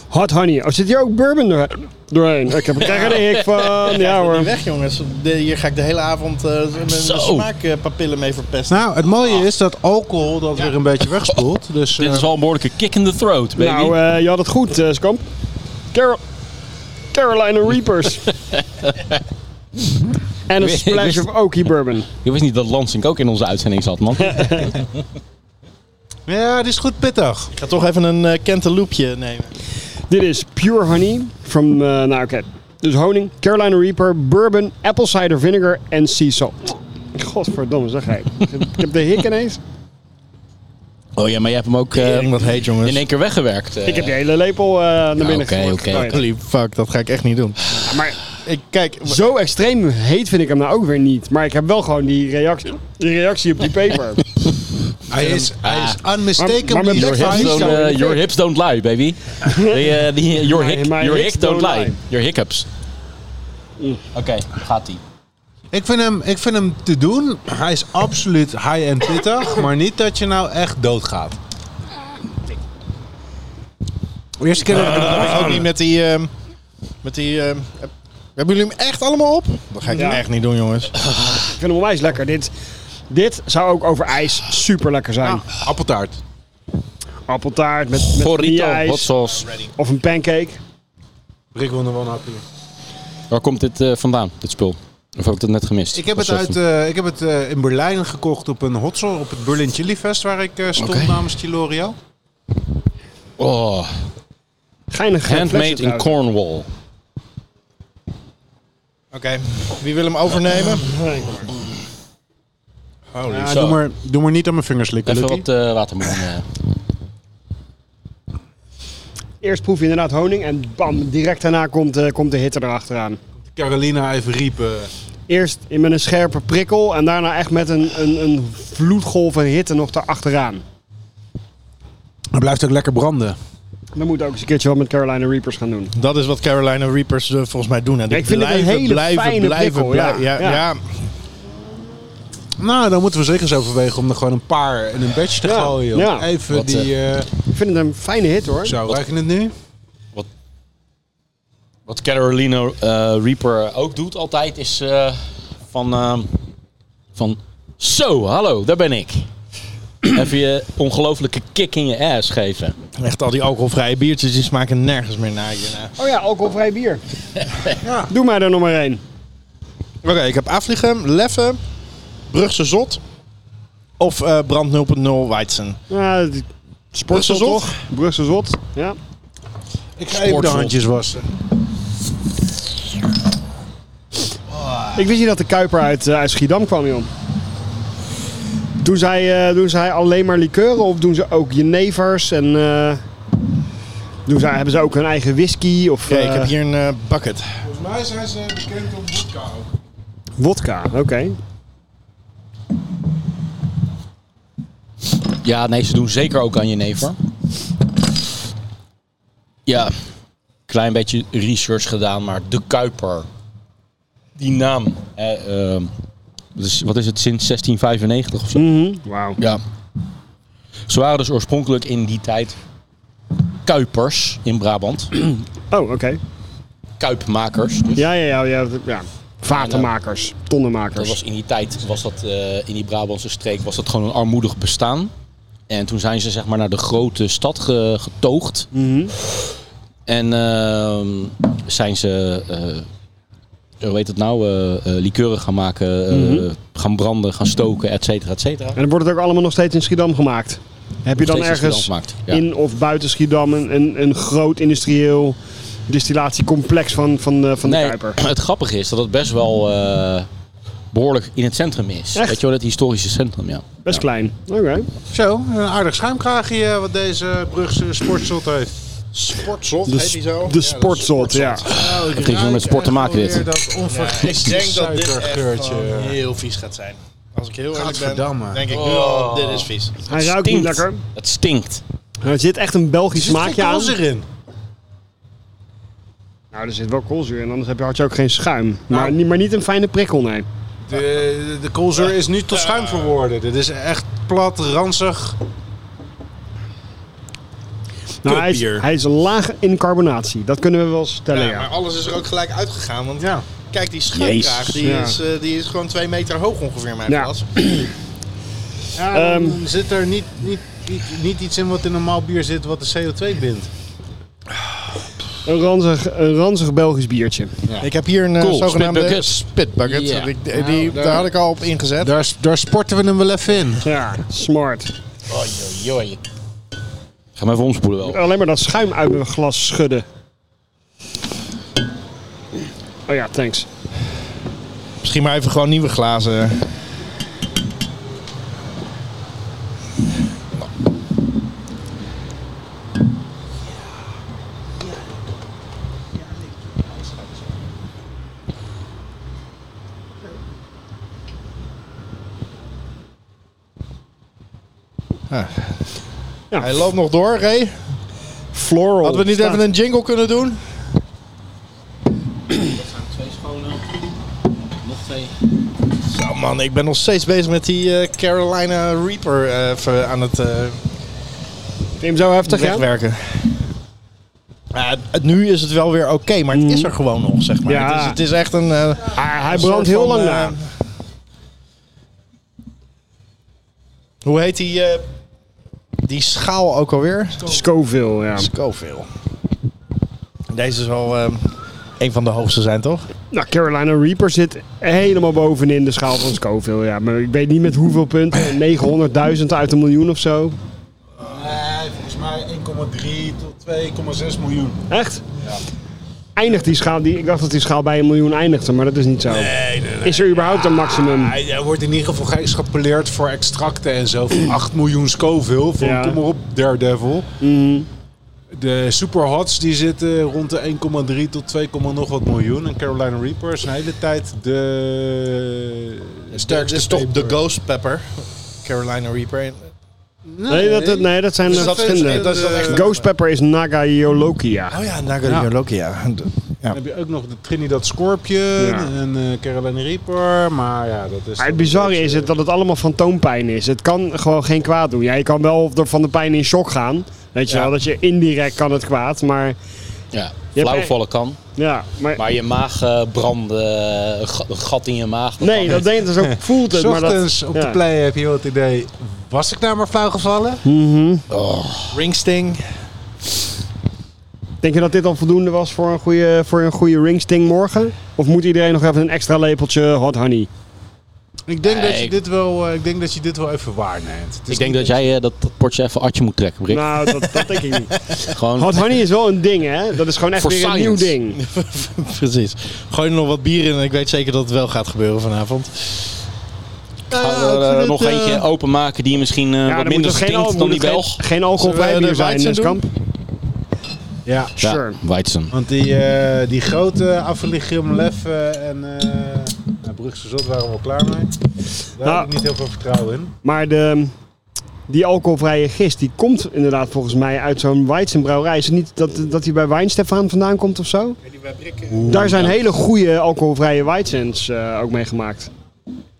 Speaker 2: Hot honey. Oh, zit hier ook bourbon door- doorheen? Ik heb krijg er de hik van. Ja
Speaker 5: Niet
Speaker 2: hoor.
Speaker 5: weg jongens. De- hier ga ik de hele avond eh, mijn
Speaker 1: Zo.
Speaker 5: smaakpapillen mee verpesten.
Speaker 6: Nou, het mooie is dat alcohol dat weer een beetje wegspoelt. Dus eh,
Speaker 1: Ah. Dit is al een behoorlijke kick in the throat, baby.
Speaker 2: Nou, eh, je had het goed, eh Skamp. Carol Carolina Reapers. en een splash of Oakie bourbon.
Speaker 1: Je wist niet dat Lansing ook in onze uitzending zat, man.
Speaker 6: ja, dit is goed pittig.
Speaker 5: Ik ga toch even een eh cantaloupeje nemen.
Speaker 2: Dit is pure honey from, eh, nou oké, dus honing, Carolina Reaper, bourbon, apple cider vinegar en sea salt. Godverdomme, zeg hij. Ik heb- Ik heb de hik ineens.
Speaker 1: Oh ja, maar je hebt hem ook eh,
Speaker 5: wat heet jongens.
Speaker 1: in één keer weggewerkt. eh.
Speaker 2: Ik heb die hele lepel eh, naar binnen
Speaker 1: oké,
Speaker 2: gegooid.
Speaker 1: oké.
Speaker 2: Nou ja.
Speaker 5: Holy fuck, dat ga ik echt niet doen.
Speaker 2: Ja, maar
Speaker 5: Ik, kijk, w-
Speaker 2: Zo extreem heet vind ik hem nou ook weer niet. Maar ik heb wel gewoon die reactie, die reactie op die paper.
Speaker 6: Hij is,
Speaker 1: Ah.
Speaker 6: hij is
Speaker 2: Maar- maar
Speaker 6: unmistakably
Speaker 2: met
Speaker 1: Your
Speaker 2: bek
Speaker 1: hips,
Speaker 2: van
Speaker 1: don't,
Speaker 2: Nico.
Speaker 1: eh, your hips don't lie, baby. Die, eh, die, your, hic,
Speaker 2: my
Speaker 1: your
Speaker 2: hips
Speaker 1: hic don't
Speaker 2: don't
Speaker 1: lie.
Speaker 2: lie.
Speaker 1: Your hiccups. Oké, gaat ie.
Speaker 6: Ik vind, hem, ik vind hem te doen. Hij is absoluut high en pittig. Maar niet dat je nou echt doodgaat. De eerste keer dat
Speaker 1: Ah.
Speaker 6: ik hem
Speaker 5: dat is ook niet met die... ehm, met die ehm, heb- hebben jullie hem echt allemaal op? Dat ga ik
Speaker 2: Ja.
Speaker 5: echt niet doen jongens.
Speaker 2: ik vind hem onwijs lekker. Dit, dit zou ook over ijs super lekker zijn.
Speaker 5: Ah.
Speaker 6: Appeltaart.
Speaker 2: Appeltaart met, met
Speaker 1: Gorrito, hot
Speaker 2: ijs
Speaker 1: sauce.
Speaker 2: of een pancake.
Speaker 6: Rick wil nog wel een hapje.
Speaker 1: Waar komt dit eh, vandaan, dit spul? Of heb ik het net gemist?
Speaker 6: Ik heb het,
Speaker 1: Was
Speaker 6: uit,
Speaker 1: dat-
Speaker 6: eh, ik heb het eh, in Berlijn gekocht op een hotsel. Op het Berlin Chili Fest waar ik eh, stond
Speaker 1: Oké.
Speaker 6: namens Chilorio.
Speaker 1: Oh,
Speaker 2: Geinig eh, flesje
Speaker 1: handmade in
Speaker 2: trouwens.
Speaker 1: Cornwall.
Speaker 5: Oké, wie wil hem overnemen? Holy
Speaker 6: Ja,
Speaker 1: Oh, Zo.
Speaker 6: doe, maar, doe maar niet aan mijn vingers likken,
Speaker 1: Even
Speaker 6: Lucky.
Speaker 1: wat eh water moeten, eh.
Speaker 2: Eerst proef je inderdaad honing en bam, direct daarna komt, eh, komt de hitte erachteraan.
Speaker 1: eh,
Speaker 6: Carolina eh, even riepen.
Speaker 2: Eerst in- met een scherpe prikkel en daarna echt met een, een, een vloedgolf en hitte nog erachteraan.
Speaker 6: Hij blijft ook lekker branden.
Speaker 2: Dan moet ook eens een keertje wat met Carolina Reapers gaan doen.
Speaker 5: Dat is wat Carolina Reapers eh, volgens mij doen. Hè. Die
Speaker 2: Ik vind het een hele fijne prikkel, ja.
Speaker 5: blij- Ja,
Speaker 2: Ja.
Speaker 5: ja.
Speaker 6: Nou, dan moeten we zeker eens overwegen om er gewoon een paar in een badge te
Speaker 2: Ja.
Speaker 6: gooien. joh.
Speaker 2: Ja.
Speaker 6: Even
Speaker 1: Wat,
Speaker 6: die... eh,
Speaker 2: Ik vind het een fijne hit hoor.
Speaker 6: zo, krijg je het nu?
Speaker 1: Wat Carolina eh, Reaper ook doet altijd is eh, van, ehm, van... Zo, hallo, daar ben ik. Even je ongelofelijke kick in je ass geven.
Speaker 5: Echt al die alcoholvrije biertjes, die smaken nergens meer naar hierna.
Speaker 2: Oh ja, alcoholvrij bier. Doe mij er nog maar één.
Speaker 5: Oké, ik heb Afligem, Leffe, Brugse Zot of eh Brand 0.0 Weizen.
Speaker 2: Ja, die- Sportsel
Speaker 5: Brussel
Speaker 2: toch? Brussel zot. Ja.
Speaker 6: Ik ga even de
Speaker 1: Sportsel.
Speaker 6: handjes wassen.
Speaker 2: Ik wist niet dat de Kuiper uit, eh, uit Schiedam kwam, joh. Doen zij, eh, doen zij alleen maar likeuren of doen ze ook jenevers? En, eh, doen zij, hebben ze ook hun eigen whisky? Of,
Speaker 5: Oké, ik
Speaker 2: eh,
Speaker 5: heb hier een eh, bucket.
Speaker 6: Volgens mij zijn ze bekend om vodka ook.
Speaker 2: Wodka, oké.
Speaker 1: Ja, nee, ze doen zeker ook aan jenever. Ja, klein beetje research gedaan, maar De Kuiper. Die naam. Eh, ehm, dat is- wat is het, sinds 1695 of zo?
Speaker 2: Mhm, Wauw.
Speaker 1: Ja. Ze waren dus oorspronkelijk in die tijd Kuipers in Brabant.
Speaker 2: Oh, oké.
Speaker 1: Kuipmakers. Dus
Speaker 2: Ja, ja, ja, ja, ja. Vatenmakers,
Speaker 1: dat
Speaker 2: tonnenmakers.
Speaker 1: was in die tijd, was dat, eh, in die Brabantse streek, was dat gewoon een armoedig bestaan. En toen zijn ze zeg maar naar de grote stad ge- getoogd.
Speaker 2: Mhm.
Speaker 1: En ehm, zijn ze, eh, hoe heet het nou, eh, eh, likeuren gaan maken, eh,
Speaker 2: Mhm.
Speaker 1: gaan branden, gaan stoken, et cetera, et cetera.
Speaker 2: En dan wordt het ook allemaal nog steeds in Schiedam gemaakt. Heb je dan
Speaker 1: Steeds als je
Speaker 2: ergens
Speaker 1: dat maakt, ja.
Speaker 2: in of buiten Schiedam een, een, een groot industrieel distillatiecomplex van, van, de, van de
Speaker 1: Nee,
Speaker 2: Kuiper?
Speaker 1: het grappige is dat het best wel eh, behoorlijk in het centrum is.
Speaker 2: Echt?
Speaker 1: Weet je wel, het historische centrum, ja.
Speaker 2: Best klein. Oké.
Speaker 6: Zo, een aardig schuimkraagje eh, wat deze Brugse sportzot heeft.
Speaker 7: Sportzot
Speaker 2: De,
Speaker 7: heet die zo?
Speaker 2: s- de sportzot, ja.
Speaker 1: Het heeft met sport te maken, dit.
Speaker 6: Dat
Speaker 5: Ik denk dat dit echt
Speaker 6: suikergeurtje.
Speaker 5: gewoon eh, heel vies gaat zijn. Als ik heel eerlijk
Speaker 6: Gadverdamme.
Speaker 5: ben, denk
Speaker 2: Oh.
Speaker 5: ik nu al, dit is vies.
Speaker 2: Hij ruikt niet lekker. Nou,
Speaker 1: Het stinkt.
Speaker 2: Er zit echt een Belgisch
Speaker 6: Maak
Speaker 2: smaakje
Speaker 6: je
Speaker 2: aan.
Speaker 6: ons erin?
Speaker 2: Nou, er zit wel koolzuur in, anders heb je, had je ook geen
Speaker 1: Nou.
Speaker 2: schuim. Maar, niet, maar niet een fijne prikkel, nee.
Speaker 6: De, de koolzuur is nu tot schuim verworden. Dit is echt plat, ranzig.
Speaker 2: Nou, hij, is,
Speaker 5: Kutbier.
Speaker 2: hij is laag in carbonatie. Dat kunnen we wel stellen,
Speaker 5: Ja,
Speaker 2: ja.
Speaker 5: maar alles is er ook gelijk uitgegaan. Want
Speaker 6: Ja.
Speaker 5: kijk, die schuimkraag die,
Speaker 2: Jezus.
Speaker 5: is, eh, die is gewoon twee meter hoog ongeveer in mijn
Speaker 2: Ja.
Speaker 5: glas.
Speaker 6: Ja, dan zit er niet, niet, niet, niet iets in wat in normaal bier zit wat de CO2 bindt.
Speaker 2: Een, ranzig, een ranzig Belgisch biertje.
Speaker 5: Ik heb hier een eh,
Speaker 1: Cool,
Speaker 5: zogenaamde
Speaker 1: spitbucket.
Speaker 5: spitbucket.
Speaker 1: Ja.
Speaker 5: Ik- die- die, daar had ik al op ingezet.
Speaker 6: Nou, Daar, daar sporten we hem wel even in.
Speaker 2: Ja, smart.
Speaker 1: Joi. Ga maar even omspoelen wel.
Speaker 2: Alleen maar dat schuim uit mijn glas schudden. Oh ja, thanks.
Speaker 5: Misschien maar even gewoon nieuwe glazen. Ah.
Speaker 2: Ja.
Speaker 5: Hij loopt nog door, Ray.
Speaker 2: Floral. Nou,
Speaker 5: Hadden we niet
Speaker 2: staat-
Speaker 5: even een jingle kunnen doen?
Speaker 1: Twee schone. Nog twee.
Speaker 5: Zo man, ik ben nog steeds bezig met die eh, Carolina Reaper eh, even aan het eh,
Speaker 2: Vind je hem zo heftig, ja?
Speaker 5: wegwerken. Ja, het- nu is het wel weer oké, maar het is er gewoon nog, zeg maar.
Speaker 2: Mm. Ja.
Speaker 5: Het, is, het is echt een... eh,
Speaker 2: Ah, hij
Speaker 5: een
Speaker 2: brandt
Speaker 5: soort
Speaker 2: heel
Speaker 5: van,
Speaker 2: lang
Speaker 5: eh,
Speaker 2: na.
Speaker 5: Hoe heet die, eh, die schaal ook alweer?
Speaker 2: Scoville, ja.
Speaker 5: Scoville. Deze zal eh, een van de hoogste zijn, toch?
Speaker 2: Nou, Carolina Reaper zit helemaal bovenin de schaal van Scoville, ja. Maar ik weet niet met hoeveel punten. 900.000 uit een miljoen of zo.
Speaker 6: Nee, volgens mij 1,3 tot 2,6 miljoen.
Speaker 2: Echt? Eindigt die schaal, die, ik dacht dat die schaal bij een miljoen eindigde, maar dat is niet zo. Is er überhaupt een maximum?
Speaker 6: Hij, hij wordt in ieder geval geëxtrapoleerd voor extracten en zo. Van 8 miljoen Scoville. Van
Speaker 2: Ja. Mhm.
Speaker 6: kom maar op, Daredevil. De superhots die zitten rond de 1,3 tot 2, nog wat miljoen. En Carolina Reaper is een hele tijd de...
Speaker 5: Sterkste is toch de Ghost Pepper. Carolina Reaper.
Speaker 2: Nee, dat, dat- nee, dat zijn
Speaker 5: Dus
Speaker 2: eh,
Speaker 5: dat is-
Speaker 2: verschillende.
Speaker 5: dat is wel echt-
Speaker 2: Ghost Pepper is Nagayolokia.
Speaker 5: Oh ja, Nagarolokia. Ja.
Speaker 6: Dan heb je ook nog de Trinidad Scorpion
Speaker 2: Ja.
Speaker 6: en eh Carolina Reaper. Maar ja, dat is...
Speaker 2: Maar het bizarre is het dat het allemaal fantoompijn is. Het kan gewoon geen kwaad doen. Ja, je kan wel er van de pijn in shock gaan. Weet je
Speaker 1: Ja.
Speaker 2: wel, dat je indirect kan het kwaad. Maar
Speaker 1: Ja,
Speaker 2: hebt
Speaker 1: flauwvallen kan.
Speaker 2: ja, maar,
Speaker 1: Maar je maag eh branden, eh, een ga- een gat in je maag. dat
Speaker 2: nee,
Speaker 1: kan.
Speaker 2: dat deed het ook. Voelt het, maar
Speaker 6: Ochtends
Speaker 2: dat,
Speaker 6: op
Speaker 2: ja.
Speaker 6: de play heb je wel het idee... Was ik nou maar flauw gevallen?
Speaker 5: Ringsting.
Speaker 2: Denk je dat dit al voldoende was voor een goede, voor een goede ringsting morgen? Of moet iedereen nog even een extra lepeltje hot honey?
Speaker 6: Ik denk,
Speaker 1: Nee,
Speaker 6: dat je
Speaker 1: ik-
Speaker 6: dit wel, eh, ik denk dat je dit wel even waarneemt. Het is
Speaker 1: Ik denk dat
Speaker 6: niet-
Speaker 1: jij eh, dat, dat potje even atje moet trekken, Brik.
Speaker 2: Nou, dat, dat denk ik niet.
Speaker 1: Gewoon
Speaker 2: Hot honey is wel een ding, hè? Dat is gewoon echt
Speaker 1: Voor
Speaker 2: weer een nieuw
Speaker 1: science.
Speaker 2: ding.
Speaker 5: Precies. Gooi er nog wat bier in en ik weet zeker dat het wel gaat gebeuren vanavond.
Speaker 1: Gaan
Speaker 5: ik
Speaker 1: we
Speaker 5: vind
Speaker 1: er
Speaker 5: het,
Speaker 1: nog
Speaker 5: eh,
Speaker 1: eentje openmaken die misschien eh,
Speaker 2: dan
Speaker 1: wat
Speaker 2: moet
Speaker 1: minder
Speaker 2: er geen,
Speaker 1: stinkt
Speaker 2: al-
Speaker 1: dan
Speaker 2: moet
Speaker 1: die
Speaker 2: er geen,
Speaker 1: Belg?
Speaker 2: geen
Speaker 5: Zullen we
Speaker 2: alcoholvrij
Speaker 5: de
Speaker 2: bier zijn,
Speaker 5: Weizen doen?
Speaker 2: Neskamp.
Speaker 6: Ja,
Speaker 1: Ja,
Speaker 2: Sure.
Speaker 1: Weizen.
Speaker 6: want die, eh, die grote afvallig Gilmeleff eh en eh nou, Brugse Zot waren we al klaar mee. Daar
Speaker 2: Nou.
Speaker 6: heb ik niet heel veel vertrouwen in.
Speaker 2: Maar de, die alcoholvrije gist, die komt inderdaad volgens mij uit zo'n Weizenbrouwerij. Is het niet dat, dat die bij Weinstefan vandaan komt of zo? Daar zijn hele goede alcoholvrije Weizens eh, ook mee gemaakt.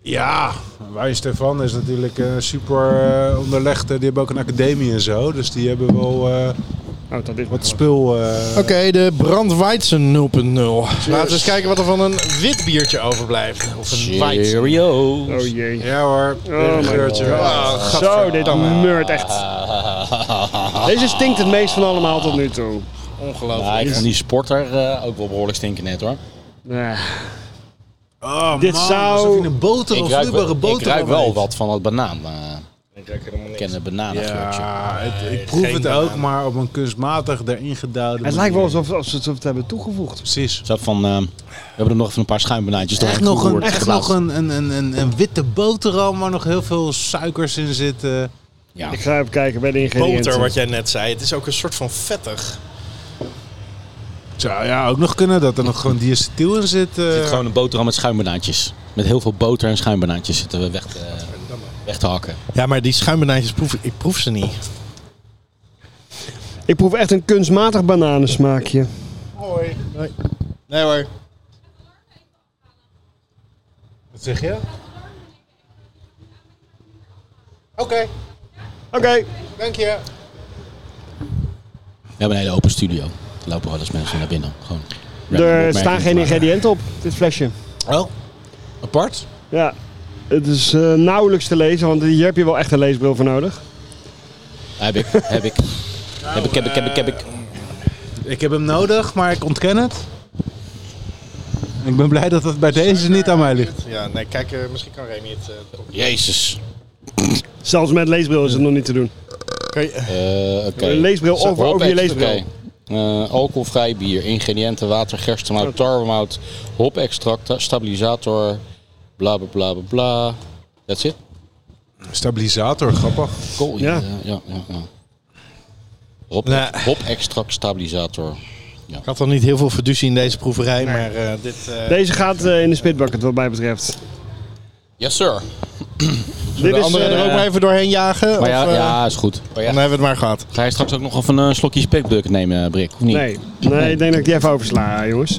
Speaker 6: Ja, Wij Stefan is natuurlijk eh, super eh, onderlegd. Eh, Die hebben ook een academie en zo. Dus die hebben wel eh,
Speaker 2: Oh, dat is
Speaker 6: wat spul. eh,
Speaker 1: Oh.
Speaker 5: Oké, de Brandweizen 0.0. Laten we eens kijken wat er van een wit biertje overblijft. Of een Weizen.
Speaker 1: Cheerio.
Speaker 2: Oh jee.
Speaker 6: Ja hoor,
Speaker 2: Oh
Speaker 6: een
Speaker 2: my
Speaker 6: geurtje. Ah,
Speaker 2: Zo, dit meurt echt. Deze stinkt het meest van allemaal tot nu toe.
Speaker 5: Ongelooflijk.
Speaker 1: Ja, Nou, ik vond die sporter eh, ook wel behoorlijk stinken net hoor.
Speaker 2: Eh,
Speaker 6: Oh,
Speaker 2: Dit
Speaker 6: man,
Speaker 2: zou-
Speaker 6: alsof je een boter
Speaker 1: Ik
Speaker 6: of
Speaker 1: ruik,
Speaker 6: vloeibare
Speaker 1: wel,
Speaker 6: boter
Speaker 1: ik ruik wel
Speaker 6: opeet.
Speaker 1: wat van dat banaan. eh,
Speaker 8: Ik ruik helemaal
Speaker 1: ik
Speaker 8: niks.
Speaker 1: ken het bananengeurtje.
Speaker 6: Ja, het- ik proef het ook, maar op een kunstmatig erin gedouwde
Speaker 2: het lijkt wel alsof, alsof ze het hebben toegevoegd.
Speaker 6: Precies.
Speaker 1: Zo van, eh, we hebben er nog even een paar schuimbanaantjes
Speaker 6: Echt
Speaker 1: doorheen
Speaker 6: nog, een,
Speaker 1: geroerd,
Speaker 6: echt
Speaker 1: geplaatst.
Speaker 6: nog een, een, een, een, een witte boterham waar nog heel veel suikers in zitten.
Speaker 1: Ja.
Speaker 2: Ik ga even kijken bij de ingrediënten.
Speaker 8: Boter, wat jij net zei. Het is ook een soort van vettig.
Speaker 6: Zou ja ook nog kunnen dat er nog gewoon diacetyl in zit. eh.
Speaker 1: Er zit gewoon een boterham met schuimbanaantjes. Met heel veel boter en schuimbanaantjes zitten we weg te, weg te hakken.
Speaker 8: Ja, maar die schuimbanaantjes proef ik, ik proef ze niet.
Speaker 2: Ik proef echt een kunstmatig bananensmaakje.
Speaker 5: Hoi. Nee hoor.
Speaker 6: Wat zeg je?
Speaker 5: Oké,
Speaker 2: Oké.
Speaker 5: dank je.
Speaker 1: We hebben een hele open studio. Er lopen wel eens mensen naar binnen. Gewoon random
Speaker 2: Er
Speaker 1: opmerkingen
Speaker 2: staan geen
Speaker 1: te maken.
Speaker 2: ingrediënten op, dit flesje.
Speaker 1: Oh, apart?
Speaker 2: Ja, het is eh, nauwelijks te lezen, want hier heb je wel echt een leesbril voor nodig.
Speaker 1: Heb ik, heb ik. Heb ik, heb ik, heb ik, heb ik.
Speaker 6: Ik heb hem nodig, maar ik ontken het. Ik ben blij dat het bij deze niet aan mij ligt.
Speaker 8: Ja, nee, kijk, eh, misschien kan Remy het... eh, op-
Speaker 1: Jezus.
Speaker 2: Zelfs met leesbril is het nog niet te doen.
Speaker 1: Eh, Oké.
Speaker 2: Een leesbril
Speaker 1: Zo,
Speaker 2: over- over je
Speaker 1: hop-extract,
Speaker 2: leesbril.
Speaker 1: oké. Eh, alcoholvrij bier, ingrediënten, water, gerstemout, tarwemout, hopextract, stabilisator, bla bla bla bla bla. That's it.
Speaker 6: Stabilisator, grappig.
Speaker 1: Cool.
Speaker 2: Ja.
Speaker 1: Ja, ja, ja. ja. Hop,
Speaker 8: Nee.
Speaker 1: hopextract, stabilisator.
Speaker 8: Ik had al niet heel veel verduzie in deze proeverij, maar eh, dit... eh,
Speaker 2: Deze gaat eh, in de spitbucket wat mij betreft.
Speaker 1: Yes, sir.
Speaker 2: Dit
Speaker 5: De
Speaker 2: is,
Speaker 5: anderen
Speaker 2: eh,
Speaker 5: er ook maar even doorheen jagen.
Speaker 1: Maar ja,
Speaker 5: of, eh,
Speaker 1: Oh, ja, is goed.
Speaker 5: Dan hebben we het maar gehad.
Speaker 1: Ga je straks ook nog even een slokje spekbuk nemen, Brik? Of niet?
Speaker 2: nee. nee, ik denk dat ik die even oversla, jongens.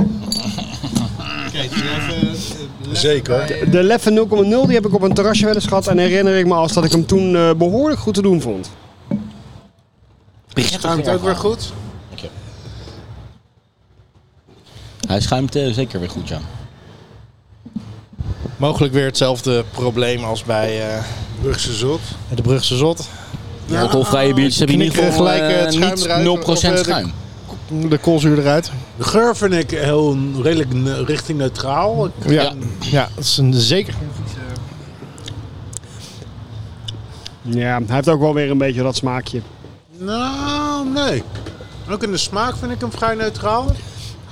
Speaker 6: Zeker.
Speaker 2: De Leffe 0,0 die heb ik op een terrasje wel eens gehad en herinner ik me als dat ik hem toen eh, behoorlijk goed te doen vond.
Speaker 1: Schuimt ook weer goed? Hij schuimt eh, zeker weer goed, ja.
Speaker 8: Mogelijk weer hetzelfde probleem als bij eh,
Speaker 6: Brugse zot.
Speaker 8: de Brugse Zot.
Speaker 1: Die Alcoholvrije biertjes hebben in ieder
Speaker 5: knikker
Speaker 1: geval
Speaker 5: gelijk, eh, het
Speaker 1: eh,
Speaker 5: schuim
Speaker 1: niet
Speaker 5: eruit,
Speaker 1: 0%
Speaker 5: of, eh, de-
Speaker 1: schuim.
Speaker 5: De koolzuur eruit.
Speaker 6: De geur vind ik heel redelijk ne- richting neutraal. Ik-
Speaker 5: Ja,
Speaker 1: Ja.
Speaker 5: ja. dat is een zeker.
Speaker 2: Ja, hij heeft ook wel weer een beetje dat smaakje.
Speaker 6: Nou, nee. Ook in de smaak vind ik hem vrij neutraal.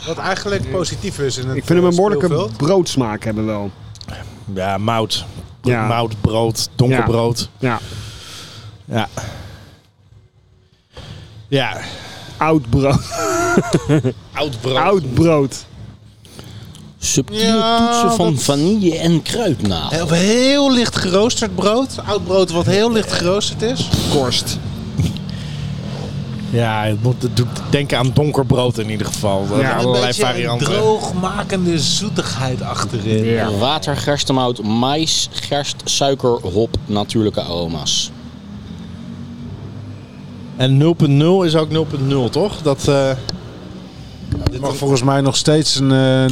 Speaker 6: Wat eigenlijk positief is in het
Speaker 2: Ik vind hem een
Speaker 6: eh,
Speaker 2: behoorlijke
Speaker 6: speelveld.
Speaker 2: broodsmaak hebben wel.
Speaker 8: Ja, mout.
Speaker 2: Ja.
Speaker 8: Mout, brood, donkerbrood.
Speaker 2: Ja,
Speaker 8: Ja. Ja.
Speaker 2: oud brood.
Speaker 8: Oud brood.
Speaker 2: Oud brood.
Speaker 1: Subtiele
Speaker 6: Ja,
Speaker 1: toetsen van vanille en kruidnagel.
Speaker 6: Heel, heel licht geroosterd brood. Oud brood wat heel licht geroosterd is.
Speaker 2: Korst.
Speaker 8: Ja, het, moet, het doet denken aan donkerbrood in ieder geval. Er
Speaker 2: Ja,
Speaker 8: zijn
Speaker 2: een
Speaker 8: allerlei
Speaker 6: beetje
Speaker 8: varianten.
Speaker 6: Een droogmakende zoetigheid achterin.
Speaker 2: Ja.
Speaker 1: Water, gerstemout, mais, gerst, suiker, hop, natuurlijke aroma's.
Speaker 8: En 0.0 is ook 0.0, toch? Dat, eh,
Speaker 6: Dit mag volgens mij nog steeds een eh,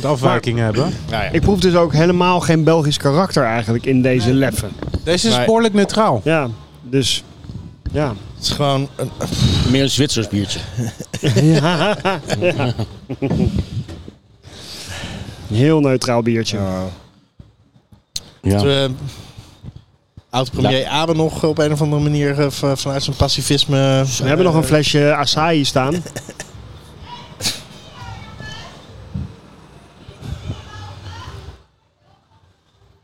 Speaker 6: 0,5% afwijking hebben.
Speaker 8: nou ja.
Speaker 2: Ik proef dus ook helemaal geen Belgisch karakter eigenlijk in deze leffen.
Speaker 6: Deze is
Speaker 8: Nee.
Speaker 6: behoorlijk neutraal.
Speaker 2: Ja, dus... Ja.
Speaker 8: het is gewoon een,
Speaker 1: Meer een Zwitsers biertje.
Speaker 2: Heel neutraal biertje.
Speaker 1: Ja.
Speaker 8: eh, Oud-premier Abe nog op een of andere manier eh, v- vanuit zijn pacifisme.
Speaker 2: We hebben nog een flesje Asahi staan.
Speaker 1: Eh,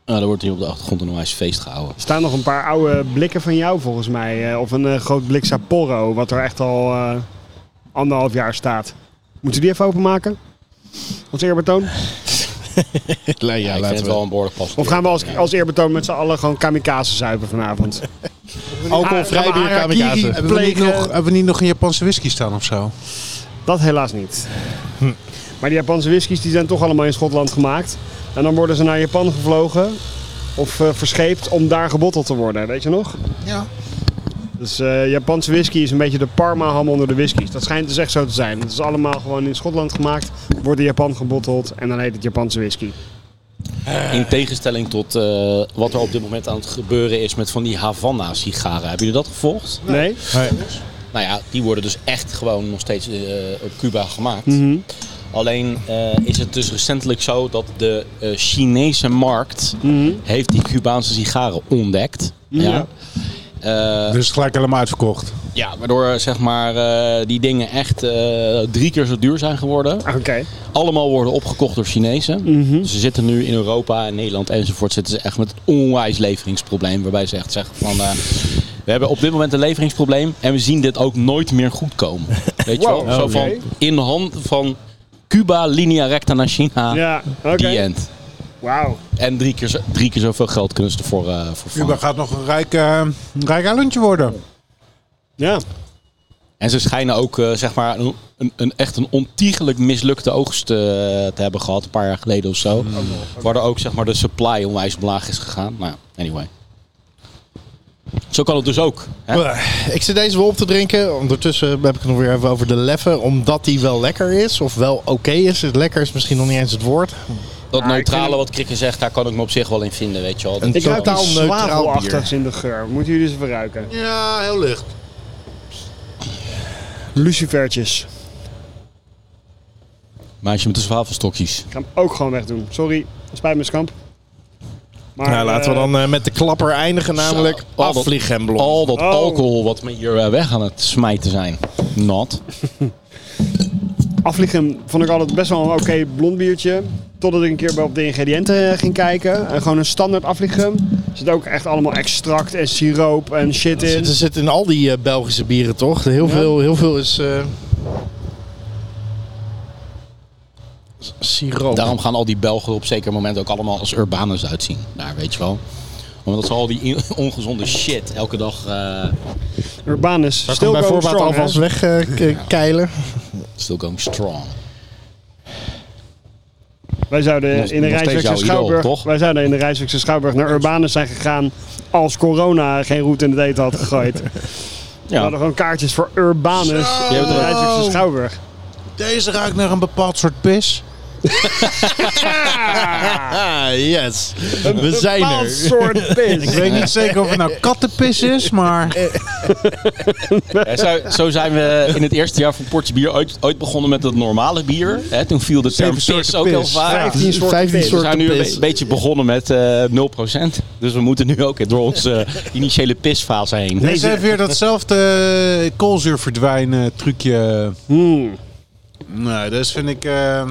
Speaker 1: Nou, er wordt hier op de achtergrond een onwijs feest gehouden.
Speaker 2: Er staan nog een paar oude blikken van jou volgens mij. eh, Of een eh, groot blik Sapporo, wat er echt al eh, anderhalf jaar staat. Moeten we die even openmaken? Als eerbetoon?
Speaker 5: Ja,
Speaker 1: Ja, ik vind
Speaker 5: laten
Speaker 1: het
Speaker 5: we.
Speaker 1: wel een behoorlijk pas.
Speaker 2: Of gaan we als, als eerbetoon met z'n allen gewoon kamikaze zuipen vanavond?
Speaker 5: Alcoholvrij
Speaker 2: Ah,
Speaker 5: bier
Speaker 2: harakiri.
Speaker 5: kamikaze.
Speaker 6: Hebben we, niet
Speaker 2: plegen.
Speaker 6: nog, hebben we niet nog een Japanse whisky staan of zo?
Speaker 2: Dat helaas niet. Maar die Japanse whiskies die zijn toch allemaal in Schotland gemaakt. En dan worden ze naar Japan gevlogen of eh, verscheept om daar gebotteld te worden, weet je nog?
Speaker 6: Ja.
Speaker 2: Dus eh, Japanse whisky is een beetje de Parma-ham onder de whiskies. Dat schijnt dus echt zo te zijn. Het is allemaal gewoon in Schotland gemaakt, wordt in Japan gebotteld en dan heet het Japanse whisky.
Speaker 1: In tegenstelling tot eh, wat er op dit moment aan het gebeuren is met van die Havana-sigaren. Hebben jullie dat gevolgd?
Speaker 2: Nee?
Speaker 1: Nou ja, die worden dus echt gewoon nog steeds eh, op Cuba gemaakt. Alleen eh, is het dus recentelijk zo dat de eh, Chinese markt heeft die Cubaanse sigaren ontdekt. Ja. Ja.
Speaker 6: Dus gelijk helemaal uitverkocht.
Speaker 1: ja, waardoor eh, zeg maar, eh, die dingen echt eh, drie keer zo duur zijn geworden.
Speaker 2: Ah, Oké.
Speaker 1: Allemaal worden opgekocht door Chinezen.
Speaker 2: Mhm.
Speaker 1: Dus ze zitten nu in Europa en Nederland enzovoort. Zitten ze echt met het onwijs leveringsprobleem. Waarbij ze echt zeggen van. eh, we hebben op dit moment een leveringsprobleem. En we zien dit ook nooit meer goed komen. Weet je wel? Zo van
Speaker 2: oké.
Speaker 1: in de hand van Cuba, linea recta naar China.
Speaker 2: Ja, oké.
Speaker 1: Ah. Die eh, end.
Speaker 2: Wauw.
Speaker 1: En drie keer, zo- drie keer zoveel geld kunnen ze ervoor eh voor
Speaker 6: Cuba
Speaker 1: vangen.
Speaker 6: gaat nog een rijk, eh, een rijk eilandje worden.
Speaker 2: Ja.
Speaker 1: En ze schijnen ook eh, zeg maar een, een, een- echt een ontiegelijk mislukte oogst eh, te hebben gehad. Een paar jaar geleden of zo. Waardoor ook zeg maar de supply onwijs omlaag is gegaan. Maar ja, anyway. Zo kan het dus ook. Hè?
Speaker 5: Ik zit deze wel op te drinken. Ondertussen heb ik het nog weer even over de leffen. Omdat die wel lekker is. Of wel oké is. Het lekker is misschien nog niet eens het woord.
Speaker 1: Dat
Speaker 2: Maar ik
Speaker 1: neutrale
Speaker 2: vind-
Speaker 1: wat Krikken zegt, daar kan ik me op zich wel in vinden, weet je wel.
Speaker 5: Een
Speaker 2: Ik ruik
Speaker 5: totaal
Speaker 2: iets
Speaker 5: neutraal
Speaker 2: zwavelachtigs in de geur. Moeten jullie ze verruiken?
Speaker 5: Ja, heel licht.
Speaker 2: Lucifertjes.
Speaker 1: Meisje met de zwavelstokjes.
Speaker 2: Ik ga hem ook gewoon wegdoen. Sorry, spijt me, Skamp. Maar,
Speaker 5: Nou, laten we
Speaker 2: eh,
Speaker 5: dan eh, met de klapper eindigen. Namelijk
Speaker 1: Zo, al dat-
Speaker 5: afvliegen en blond.
Speaker 1: Al dat
Speaker 2: Oh.
Speaker 1: alcohol wat me hier eh, weg aan het smijten zijn. Not.
Speaker 2: Afliegen vond ik altijd best wel een oké blond biertje. Totdat ik een keer op de ingrediënten eh, ging kijken. En gewoon een standaard afliegen. Er zit ook echt allemaal extract en siroop en shit
Speaker 5: Er
Speaker 2: in.
Speaker 5: zit, er zit in al die eh, Belgische bieren toch? Heel, veel, heel veel is. eh, s- Siroop.
Speaker 1: Daarom gaan al die Belgen op zeker moment ook allemaal als urbanus uitzien. Daar, weet je wel. Omdat ze al die in- ongezonde shit elke dag... eh,
Speaker 2: Urbanus,
Speaker 5: Zal ik hem
Speaker 2: stil
Speaker 5: bij
Speaker 2: komen
Speaker 5: voorbaat
Speaker 2: strong, hè?
Speaker 5: alvast wegkeilen.
Speaker 1: Still going strong.
Speaker 2: Wij zouden
Speaker 1: Nog-
Speaker 2: in de
Speaker 1: nog steeds
Speaker 2: Rijswijkse
Speaker 1: jouw idool,
Speaker 2: Schouwburg,
Speaker 1: toch?
Speaker 2: wij zouden in de Rijswijkse Schouwburg naar Urbanus zijn gegaan als corona geen route in het eten had gegooid. We hadden gewoon kaartjes voor Urbanus
Speaker 6: Je
Speaker 2: in
Speaker 6: hebt
Speaker 2: de
Speaker 6: er-
Speaker 2: Rijswijkse Schouwburg.
Speaker 6: Deze ruikt naar een bepaald soort pis.
Speaker 5: Ah, yes. We zijn
Speaker 2: Bepaald
Speaker 5: er.
Speaker 2: soort pis.
Speaker 6: Ik weet niet zeker of het nou kattenpis is, maar...
Speaker 1: Ja, zo, zo zijn we in het eerste jaar van Portje Bier ooit, ooit begonnen met het normale bier. Hè, toen viel de term
Speaker 6: Zeven soorten
Speaker 1: pis ook heel
Speaker 6: pis.
Speaker 1: vaak.
Speaker 2: 15 soorten
Speaker 5: 15
Speaker 2: pis.
Speaker 1: We
Speaker 5: soorten
Speaker 1: zijn nu een
Speaker 5: pis.
Speaker 1: be- beetje begonnen met eh 0%. Dus we moeten nu ook door onze eh, initiële pisfase heen.
Speaker 6: Dit is even weer datzelfde eh, koolzuur verdwijnen trucje.
Speaker 2: Hmm.
Speaker 6: Nee, dus vind ik... eh,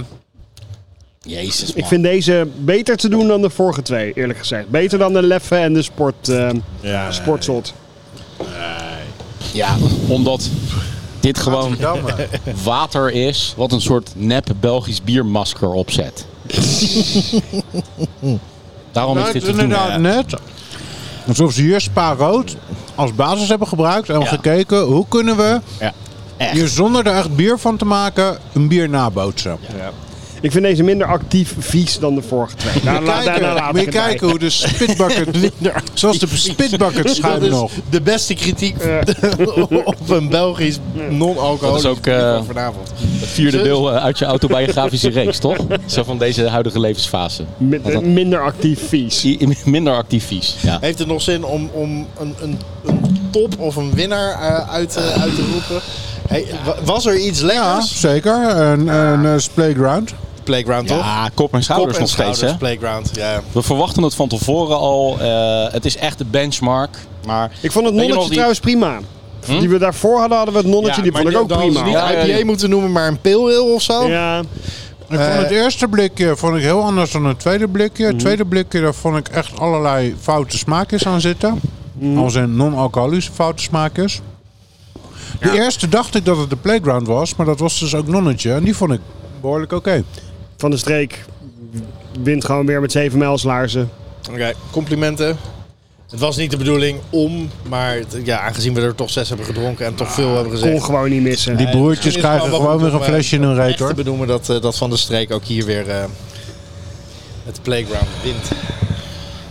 Speaker 1: Jezus man.
Speaker 2: Ik vind deze beter te doen dan de vorige twee, eerlijk gezegd. Beter dan de Leffe en de sport, eh Sportzot.
Speaker 1: Ja, omdat dit gewoon
Speaker 6: Gadverdamme.
Speaker 1: water is wat een soort nep Belgisch biermasker opzet. Daarom is
Speaker 6: Nou,
Speaker 1: dit
Speaker 6: het
Speaker 1: te
Speaker 6: is
Speaker 1: doen.
Speaker 6: inderdaad net. Alsof ze hier Spa Rood als basis hebben gebruikt en
Speaker 1: Ja.
Speaker 6: gekeken hoe kunnen we
Speaker 1: Ja,
Speaker 6: hier
Speaker 1: echt.
Speaker 6: zonder er echt bier van te maken een bier nabootsen.
Speaker 2: Ik vind deze minder actief vies dan de vorige twee. Daar,
Speaker 6: Moet je
Speaker 2: la- daarna
Speaker 6: kijken,
Speaker 2: nou, laat
Speaker 6: moet
Speaker 2: ik
Speaker 6: je
Speaker 2: het bij.
Speaker 6: kijken hoe de spitbucket, zoals de spitbucket
Speaker 5: Dat
Speaker 6: schuim
Speaker 5: is
Speaker 6: nog.
Speaker 5: de beste kritiek op een Belgisch
Speaker 1: Dat is
Speaker 5: non-alcoholisch
Speaker 1: ook,
Speaker 5: bier
Speaker 1: eh,
Speaker 5: van vanavond.
Speaker 1: Het vierde deel eh, uit je autobiografische reeks, toch? Zo van deze huidige levensfase.
Speaker 2: Min- eh, minder actief vies.
Speaker 1: I- i- Minder actief vies. Ja.
Speaker 5: Heeft het nog zin om, om een, een, een top of een winnaar eh, uit, eh, uit te roepen? Hey, wa- was er iets
Speaker 6: Ja,
Speaker 5: lekkers?
Speaker 6: zeker. Een, een eh, playground.
Speaker 5: Playground toch?
Speaker 1: Ja, kop en schouders
Speaker 5: en
Speaker 1: nog steeds.
Speaker 5: schouders,
Speaker 1: Hè?
Speaker 5: Playground, ja.
Speaker 1: We verwachten het van tevoren al. eh, het is echt de benchmark. Maar
Speaker 2: Ik
Speaker 1: Weet
Speaker 2: vond het
Speaker 1: je
Speaker 2: nonnetje
Speaker 1: nog die-
Speaker 2: trouwens prima.
Speaker 6: Hm?
Speaker 2: Die we daarvoor hadden, hadden we het nonnetje, die
Speaker 5: maar
Speaker 2: vond ik ook
Speaker 5: dan hadden ze
Speaker 2: prima.
Speaker 5: niet
Speaker 1: Ja, ja,
Speaker 5: IPA
Speaker 1: ja.
Speaker 5: moeten noemen, maar een pale ale of zo.
Speaker 2: Ja,
Speaker 6: Ik vond het eerste blikje vond ik heel anders dan het tweede blikje. Het tweede blikje, daar vond ik echt allerlei foute smaakjes aan zitten. Als in non-alcoholische foute smaakjes. De eerste dacht ik dat het de Playground was, maar dat was dus ook Nonnetje. En die vond ik behoorlijk oké.
Speaker 2: Van de streek wint gewoon weer met 7 mijlslaarzen.
Speaker 8: Oké, complimenten. Het was niet de bedoeling om, maar het- ja, aangezien we er toch zes hebben gedronken en toch
Speaker 1: Ah,
Speaker 8: veel hebben gezegd.
Speaker 2: Kon gewoon niet missen.
Speaker 6: Die broertjes
Speaker 8: is
Speaker 6: krijgen
Speaker 8: wel
Speaker 6: gewoon
Speaker 8: wat
Speaker 6: weer een
Speaker 8: om, eh,
Speaker 6: flesje in hun reet
Speaker 8: Echt te
Speaker 6: hoor.
Speaker 8: benoemen dat, eh, dat Van de Streek ook hier weer eh, het playground wint.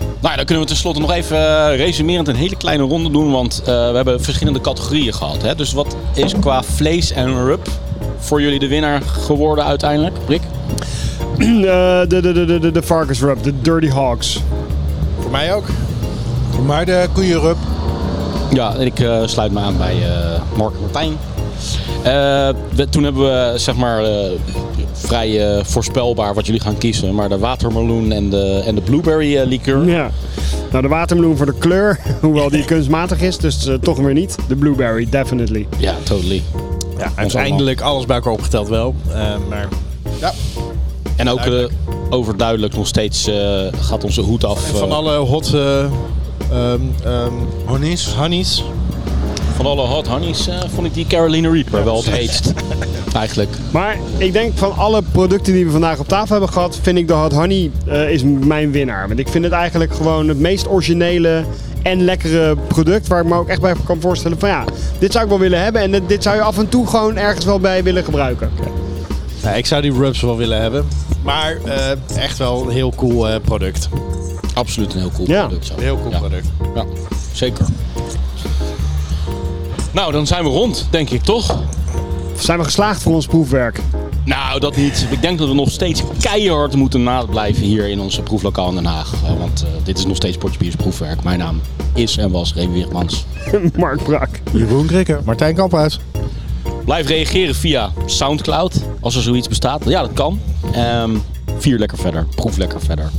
Speaker 1: Nou, ja, dan kunnen we tenslotte nog even eh, resumerend een hele kleine ronde doen. Want eh, we hebben verschillende categorieën gehad. Hè? Dus wat is qua vlees en rub voor jullie de winnaar geworden uiteindelijk? Rick?
Speaker 2: Eh, de, de, de, de, de, de varkensrub, de Dirty Hawks.
Speaker 8: Voor mij ook.
Speaker 6: Maar de koeienrup,
Speaker 1: Ja, en ik eh, sluit me aan bij eh, Mark en Martijn. Eh, we- toen hebben we zeg maar eh, vrij eh, voorspelbaar wat jullie gaan kiezen. Maar de watermeloen en de, en de blueberry eh, liqueur.
Speaker 2: Ja. Nou, de watermeloen voor de kleur, hoewel die kunstmatig is, dus eh, toch weer niet. De blueberry, definitely.
Speaker 1: Ja, totally.
Speaker 8: Ja, uiteindelijk alles bij elkaar opgeteld wel. eh, maar
Speaker 1: En ook eh, overduidelijk nog steeds eh, gaat onze hoed af
Speaker 8: van
Speaker 1: eh,
Speaker 8: alle hot eh ehm, ehm,
Speaker 6: honies.
Speaker 8: honeys.
Speaker 1: Van alle hot honeys eh, vond ik die Carolina Reaper wel het heetst. Eigenlijk.
Speaker 2: Maar ik denk van alle producten die we vandaag op tafel hebben gehad, vind ik de Hot Honey eh, is mijn winnaar. Want ik vind het eigenlijk gewoon het meest originele en lekkere product waar ik me ook echt bij kan voorstellen van ja, dit zou ik wel willen hebben en dit- dit zou je af en toe gewoon ergens wel bij willen gebruiken.
Speaker 8: Nou, ik zou die rubs wel willen hebben. Maar eh, echt wel een heel cool eh, product.
Speaker 1: Absoluut een heel cool
Speaker 2: Ja,
Speaker 1: product. Zo.
Speaker 8: Heel cool
Speaker 1: Ja.
Speaker 8: product.
Speaker 1: Ja, zeker. Nou, dan zijn we rond, denk ik toch?
Speaker 2: Zijn we geslaagd voor ons proefwerk?
Speaker 1: Nou, dat niet. Ik denk dat we nog steeds keihard moeten nablijven hier in onze proeflokaal in Den Haag. Eh, want eh, dit is nog steeds Potje Biers Proefwerk. Mijn naam is en was Remy Wiegmans.
Speaker 2: Mark Brak.
Speaker 5: Jeroen Krikker. Martijn Kamphuis.
Speaker 1: Blijf reageren via Soundcloud, als er zoiets bestaat. Ja, dat kan. Ehm, vier lekker verder. Proef lekker verder.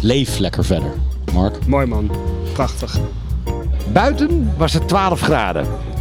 Speaker 1: Leef lekker verder. Mark?
Speaker 2: Mooi man. Prachtig.
Speaker 9: Buiten was het 12 graden.